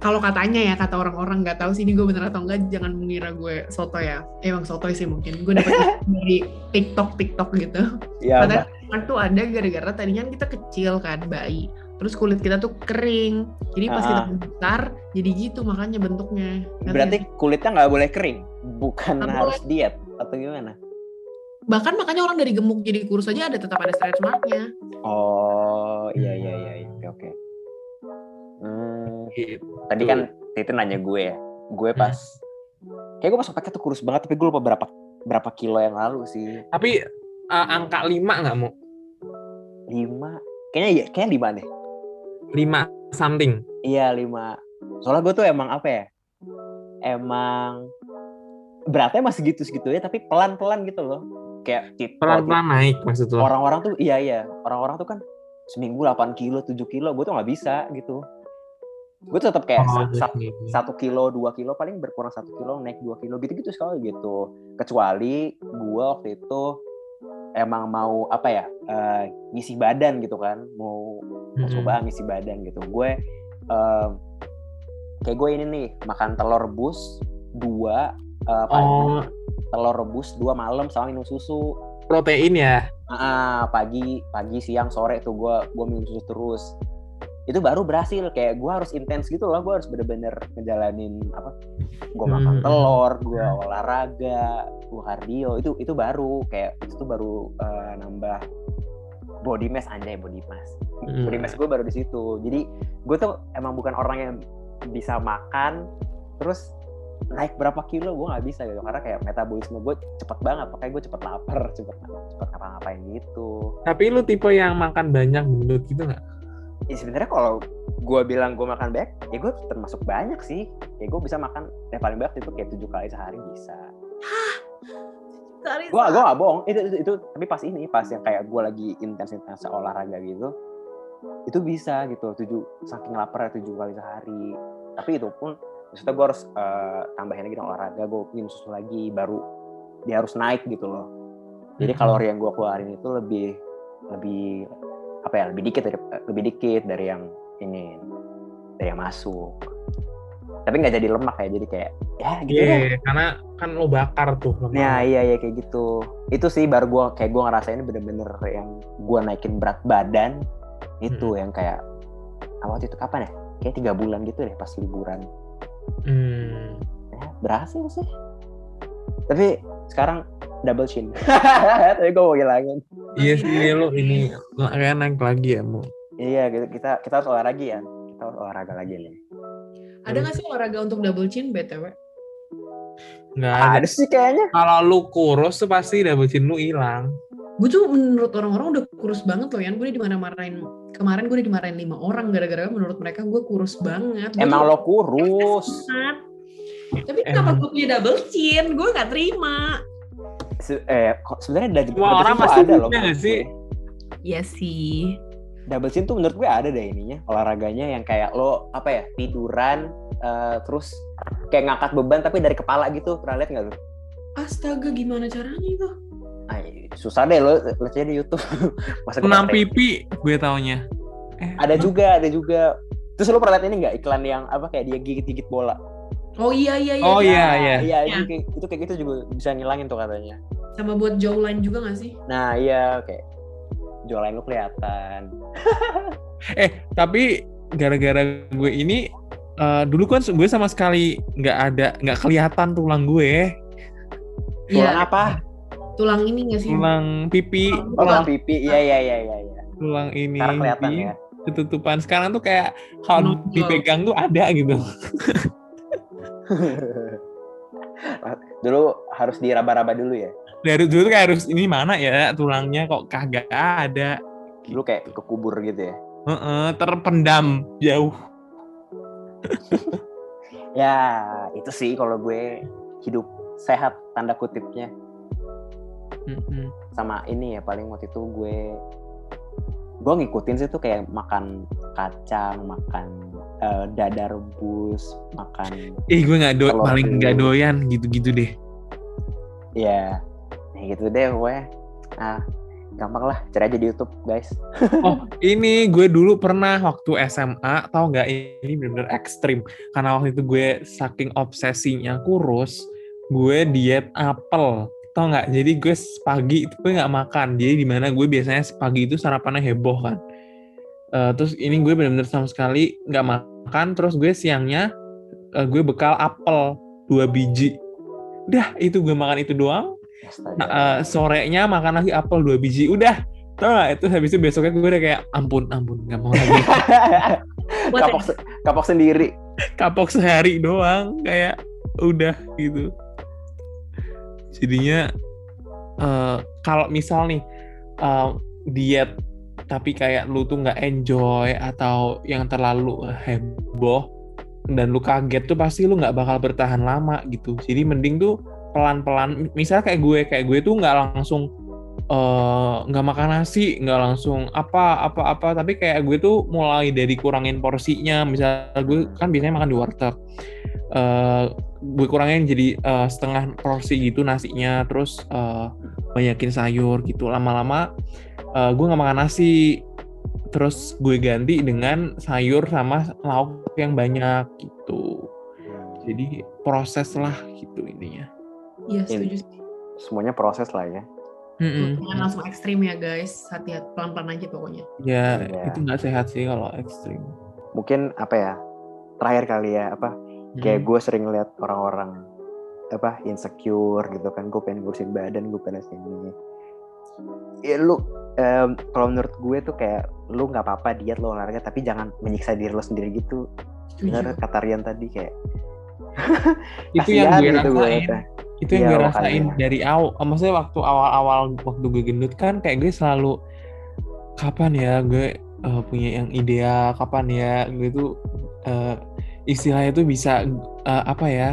Speaker 3: kalau katanya ya kata orang-orang nggak tahu sih ini gue bener atau enggak jangan mengira gue soto ya. Emang soto sih mungkin. Gue dapet dari TikTok TikTok gitu.
Speaker 2: Iya.
Speaker 3: Katanya stretch mark tuh ada gara-gara tadinya kan kita kecil kan bayi. Terus kulit kita tuh kering. Jadi pas kita besar jadi gitu makanya bentuknya. Ngerti
Speaker 2: Ah. Berarti
Speaker 3: nggak sih?
Speaker 2: kulitnya nggak boleh kering, bukan
Speaker 3: Nggak
Speaker 2: harus diet atau gimana?
Speaker 3: bahkan makanya orang dari gemuk jadi kurus aja ada tetap ada stretch marknya.
Speaker 2: Oh iya iya iya, iya. oke oke. Hmm,
Speaker 1: Gitu.
Speaker 2: tadi kan itu nanya gue ya, gue
Speaker 1: Hmm. Nah,
Speaker 2: pas kayak gue pas pakai tuh kurus banget, tapi gue lupa berapa berapa kilo yang lalu sih.
Speaker 1: Tapi eh, angka 5 nggak mau?
Speaker 2: Lima, kayaknya iya, kayaknya lima deh.
Speaker 1: 5 something.
Speaker 2: Iya lima. Soalnya gue tuh emang apa ya? Emang beratnya masih gitu segitu ya, tapi pelan pelan gitu loh. Kayak gitu. tip-
Speaker 1: Pelan-pelan naik maksud lo.
Speaker 2: orang-orang tuh iya iya orang-orang tuh kan seminggu 8 kilo 7 kilo gue tuh nggak bisa gitu gue tuh tetap kayak
Speaker 1: Oh,
Speaker 2: ya, sa- sa-
Speaker 1: gitu.
Speaker 2: satu kilo dua kilo paling berkurang satu kilo naik dua kilo gitu gitu sekali gitu kecuali gue waktu itu emang mau apa ya eh, ngisi badan gitu kan mau
Speaker 1: Mm-mm.
Speaker 2: coba ngisi badan gitu gue eh, kayak gue ini nih makan telur rebus dua eh, pagi
Speaker 1: Oh,
Speaker 2: telur rebus dua malam sama minum susu
Speaker 1: protein ya.
Speaker 2: Ah, pagi, pagi, siang, sore tuh gue gua minum susu terus. Itu baru berhasil. Kayak gue harus intens gitu loh. Gue harus bener-bener ngejalanin apa? Gue makan
Speaker 1: Hmm.
Speaker 2: telur, gue olahraga, gue kardio. Itu itu baru kayak itu tuh baru eh, nambah body mass anjay body mass.
Speaker 1: Hmm.
Speaker 2: Body mass gue baru di situ. Jadi gue tuh emang bukan orang yang bisa makan terus naik berapa kilo gue nggak bisa gitu karena kayak metabolisme gue cepet banget makanya gue cepet lapar cepet cepet ngapa ngapain gitu
Speaker 1: Tapi lu tipe yang makan banyak gendut gitu nggak?
Speaker 2: ya sebenarnya kalau gue bilang gue makan banyak ya gue termasuk banyak sih ya gue bisa makan yang paling banyak itu kayak tujuh kali sehari bisa
Speaker 4: Sorry,
Speaker 2: gue
Speaker 4: Sa.
Speaker 2: gue gak bohong itu, itu itu tapi pas ini pas yang kayak gue lagi intensitas olahraga gitu itu bisa gitu tujuh saking lapar tujuh kali sehari tapi itu pun maksudnya gue harus eh, tambahin lagi dong olahraga gue minum susu lagi baru dia harus naik gitu loh jadi
Speaker 1: Hmm.
Speaker 2: kalori yang gue keluarin itu lebih lebih apa ya lebih dikit dari lebih dikit dari yang ini dari yang masuk tapi nggak jadi lemak ya jadi kayak ya gitu
Speaker 1: Iya,
Speaker 2: deh.
Speaker 1: karena kan lo bakar tuh
Speaker 2: Nah
Speaker 1: lemak.
Speaker 2: iya iya kayak gitu. Itu sih baru gue kayak gue ngerasain bener-bener yang gue naikin berat badan
Speaker 1: Hmm.
Speaker 2: itu yang kayak ah, waktu itu kapan ya? Kayak tiga bulan gitu deh pas liburan.
Speaker 1: Hmm.
Speaker 2: Ya, berhasil sih. Tapi sekarang double chin. Tapi gue mau hilangin.
Speaker 1: Iya sih lo ini kayak naik lagi ya mau.
Speaker 2: Iya gitu kita kita harus olahraga ya. Kita harus olahraga lagi nih.
Speaker 3: Ada nggak sih olahraga untuk double chin btw?
Speaker 1: Nggak ada.
Speaker 2: Ada sih kayaknya.
Speaker 1: Kalau lu kurus tuh pasti double chin lu hilang.
Speaker 3: Gue tuh menurut orang-orang udah kurus banget loh, Yan. Gue dimarahin kemarin gue dimarahin lima orang gara-gara menurut mereka gue kurus banget. Gua
Speaker 2: Emang
Speaker 3: tuh
Speaker 2: lo kurus.
Speaker 3: banget. Tapi kenapa
Speaker 1: Emang.
Speaker 3: gue punya double chin? Gue nggak terima.
Speaker 2: Se- eh, kok sebenarnya double,
Speaker 1: Semua
Speaker 2: double
Speaker 1: orang
Speaker 2: chin tuh
Speaker 1: pasti
Speaker 2: ada
Speaker 1: punya
Speaker 2: loh.
Speaker 1: nggak
Speaker 2: menurut
Speaker 1: sih?
Speaker 2: gue.
Speaker 4: Iya sih.
Speaker 2: double chin tuh menurut gue ada deh ininya olahraganya yang kayak lo apa ya tiduran eh, terus kayak ngangkat beban tapi dari kepala gitu pernah lihat nggak lo?
Speaker 3: Astaga, gimana caranya itu?
Speaker 2: Ay, iya, susah deh lo lihat aja di YouTube. Masa
Speaker 1: Senam
Speaker 2: kepala-
Speaker 1: pipi gue taunya. Eh,
Speaker 2: Ada juga, ada juga. Terus lo pernah lihat ini nggak iklan yang apa kayak dia gigit-gigit bola?
Speaker 3: Oh iya iya iya.
Speaker 1: Oh iya iya.
Speaker 2: Iya,
Speaker 3: Iya.
Speaker 2: itu, kayak- itu kayak gitu juga bisa ngilangin tuh katanya.
Speaker 3: Sama buat jawline juga nggak sih?
Speaker 2: Nah iya kayak jualan lo kelihatan.
Speaker 1: Eh, tapi gara-gara gue ini eh, dulu kan gue sama sekali nggak ada nggak kelihatan tulang gue,
Speaker 2: Jualan
Speaker 3: Iya.
Speaker 2: apa?
Speaker 3: Tulang ini
Speaker 2: Iya.
Speaker 3: nggak sih?
Speaker 1: tulang pipi,
Speaker 2: Oh, tulang
Speaker 1: tulang
Speaker 2: pipi. Iya iya iya iya. iya.
Speaker 1: tulang ini
Speaker 2: Sekarang kelihatan
Speaker 1: ini
Speaker 2: ya.
Speaker 1: ketutupan. Sekarang tuh kayak kalau
Speaker 3: Nongol.
Speaker 1: dipegang tuh ada gitu.
Speaker 2: Dulu harus diraba-raba dulu ya.
Speaker 1: Dari dulu tuh kayak harus ini mana ya tulangnya kok kagak ada.
Speaker 2: Dulu kayak kekubur gitu ya.
Speaker 1: Heeh, terpendam jauh.
Speaker 2: Ya, itu sih kalau gue hidup sehat tanda kutipnya
Speaker 1: Mm-mm.
Speaker 2: sama ini ya paling waktu itu gue gue ngikutin sih tuh kayak makan kacang, makan eh, dada rebus, makan
Speaker 1: Ih gue nggak do
Speaker 2: Kalau
Speaker 1: paling
Speaker 2: aku-
Speaker 1: nggak doyan gitu-gitu deh.
Speaker 2: ya ya gitu deh gue. Nah, gampang lah cari aja di YouTube guys.
Speaker 1: Oh ini gue dulu pernah waktu SMA tau nggak ini bener-bener ekstrim karena waktu itu gue saking obsesinya kurus gue diet apel tau nggak jadi gue pagi itu gue nggak makan jadi dimana gue biasanya pagi itu sarapannya heboh kan Eh, terus ini gue bener-bener sama sekali nggak makan terus gue siangnya eh, gue bekal apel dua biji udah itu gue makan itu doang
Speaker 2: Astaga.
Speaker 1: Nah, eh, sorenya makan lagi apel dua biji udah tau gak itu habis itu besoknya gue udah kayak ampun ampun nggak mau lagi
Speaker 3: Buat
Speaker 2: kapok, se- kapok sendiri.
Speaker 1: kapok sehari doang kayak udah gitu jadinya eh, kalau misal nih eh, diet tapi kayak lu tuh nggak enjoy atau yang terlalu heboh dan lu kaget tuh pasti lu nggak bakal bertahan lama gitu jadi mending tuh pelan-pelan misal kayak gue kayak gue tuh nggak langsung eh, nggak makan nasi nggak langsung apa apa apa tapi kayak gue tuh mulai dari kurangin porsinya misal gue kan biasanya makan di warteg Eh, gue kurangin jadi eh, setengah porsi gitu nasinya terus eh, banyakin sayur gitu lama-lama eh, gue nggak makan nasi terus gue ganti dengan sayur sama lauk yang banyak gitu jadi proses lah gitu intinya
Speaker 3: Iya setuju sih.
Speaker 2: Semuanya proses lah ya.
Speaker 1: Mm-mm.
Speaker 3: Jangan langsung ekstrim ya guys. Hati-hati pelan-pelan aja pokoknya.
Speaker 1: Ya,
Speaker 2: Iya.
Speaker 1: itu nggak sehat sih kalau ekstrim.
Speaker 2: Mungkin apa ya? Terakhir kali ya apa
Speaker 1: Hmm.
Speaker 2: kayak gue sering lihat orang-orang apa insecure gitu kan gue pengen ngurusin badan gue pengen sini ya lu em, kalau menurut gue tuh kayak lu nggak apa-apa diet lu olahraga tapi jangan menyiksa diri lu sendiri gitu benar
Speaker 3: Setuju.
Speaker 2: kata Rian tadi kayak
Speaker 1: Iya. itu yang
Speaker 2: kasihan
Speaker 1: gue
Speaker 2: gitu
Speaker 1: rasain.
Speaker 2: liatnya.
Speaker 1: itu yang
Speaker 2: Iya,
Speaker 1: gue
Speaker 2: makanya.
Speaker 1: rasain dari awal. Maksudnya waktu awal-awal waktu gue gendut kan kayak gue selalu kapan ya gue eh, punya yang ideal kapan ya gue tuh eh, istilahnya tuh bisa eh, apa ya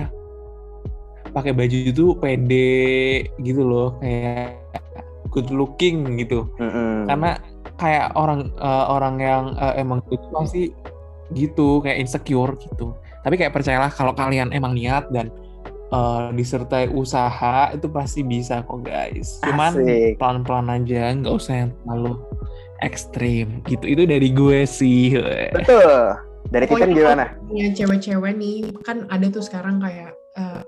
Speaker 1: pakai baju itu pede gitu loh kayak good looking gitu
Speaker 2: Mm-mm.
Speaker 1: karena kayak orang eh, orang yang eh, emang itu pasti gitu kayak insecure gitu tapi kayak percayalah kalau kalian emang niat dan eh, disertai usaha itu pasti bisa kok guys cuman
Speaker 2: Asik.
Speaker 1: pelan-pelan aja nggak usah yang terlalu ekstrim gitu itu dari gue sih
Speaker 2: betul dari Titan
Speaker 3: Pokoknya
Speaker 2: gimana
Speaker 3: punya Iya, cewek-cewek nih kan ada tuh sekarang kayak eh,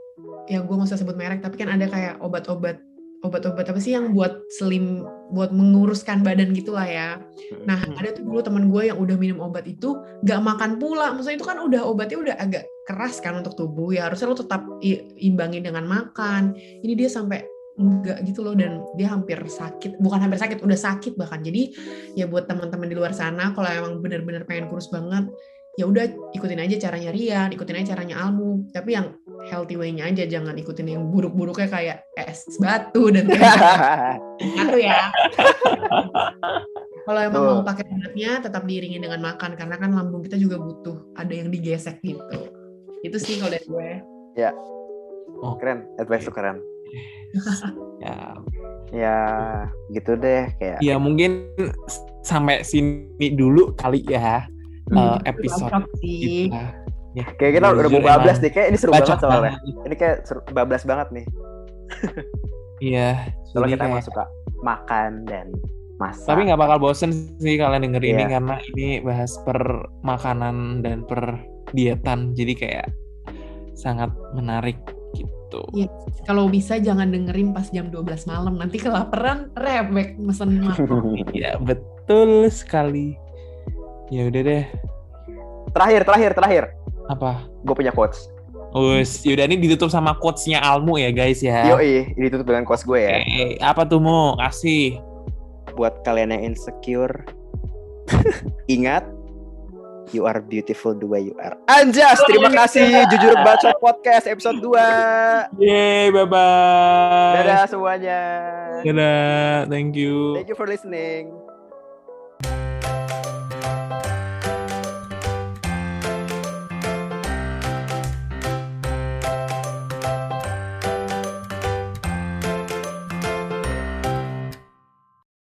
Speaker 3: ya gue nggak usah sebut merek tapi kan ada kayak obat-obat obat-obat apa sih yang buat slim buat menguruskan badan gitulah ya nah
Speaker 1: Hmm.
Speaker 3: ada tuh dulu teman gue yang udah minum obat itu nggak makan pula maksudnya itu kan udah obatnya udah agak keras kan untuk tubuh ya harusnya lo tetap i- imbangin dengan makan ini dia sampai enggak gitu loh dan dia hampir sakit bukan hampir sakit udah sakit bahkan jadi ya buat teman-teman di luar sana kalau emang bener-bener pengen kurus banget ya udah ikutin aja caranya Rian, ikutin aja caranya Almu, tapi yang healthy way-nya aja jangan ikutin yang buruk-buruknya kayak es batu dan kayak gitu ya. Kalau emang
Speaker 2: Tuh.
Speaker 3: mau pakai beratnya tetap diiringi dengan makan karena kan lambung kita juga butuh ada yang digesek gitu. Itu sih kalau dari gue.
Speaker 2: keren advice tuh keren
Speaker 1: ya,
Speaker 2: ya gitu deh kayak
Speaker 1: ya mungkin s- sampai sini dulu kali ya eh,
Speaker 4: Hmm.
Speaker 1: episode
Speaker 4: Cocok sih.
Speaker 1: kita ya,
Speaker 2: kayak kita udah mau
Speaker 1: jujur
Speaker 2: bablas
Speaker 1: emang
Speaker 2: nih kayak ini seru
Speaker 1: iya. bacot
Speaker 2: banget soalnya
Speaker 1: banget.
Speaker 2: ini kayak seru, bablas banget nih
Speaker 1: iya
Speaker 2: soalnya
Speaker 1: jadi
Speaker 2: kita
Speaker 1: kayak-
Speaker 2: emang suka makan dan masak
Speaker 1: Tapi nggak bakal bosen sih kalian denger ini
Speaker 2: Iya.
Speaker 1: karena ini bahas per makanan dan per dietan. Jadi kayak sangat menarik gitu.
Speaker 3: Iya. Kalau bisa jangan dengerin pas jam 12 malam, nanti kelaparan rebek mesen makan.
Speaker 2: Hmm.
Speaker 1: Iya, betul sekali. Ya udah deh,
Speaker 2: terakhir terakhir terakhir
Speaker 1: apa?
Speaker 2: gue punya quotes
Speaker 1: Us, yaudah ini ditutup sama quotes-nya Almu ya guys ya.
Speaker 2: yoi ini tutup dengan quotes gue ya
Speaker 1: Oke, apa tuh Mu? Kasih.
Speaker 2: buat kalian yang insecure ingat you are beautiful the way you are Anjas terima kasih jujur baca podcast episode 2
Speaker 1: Yeay, bye-bye.
Speaker 2: dadah semuanya
Speaker 1: Dadah, thank you.
Speaker 2: thank you for listening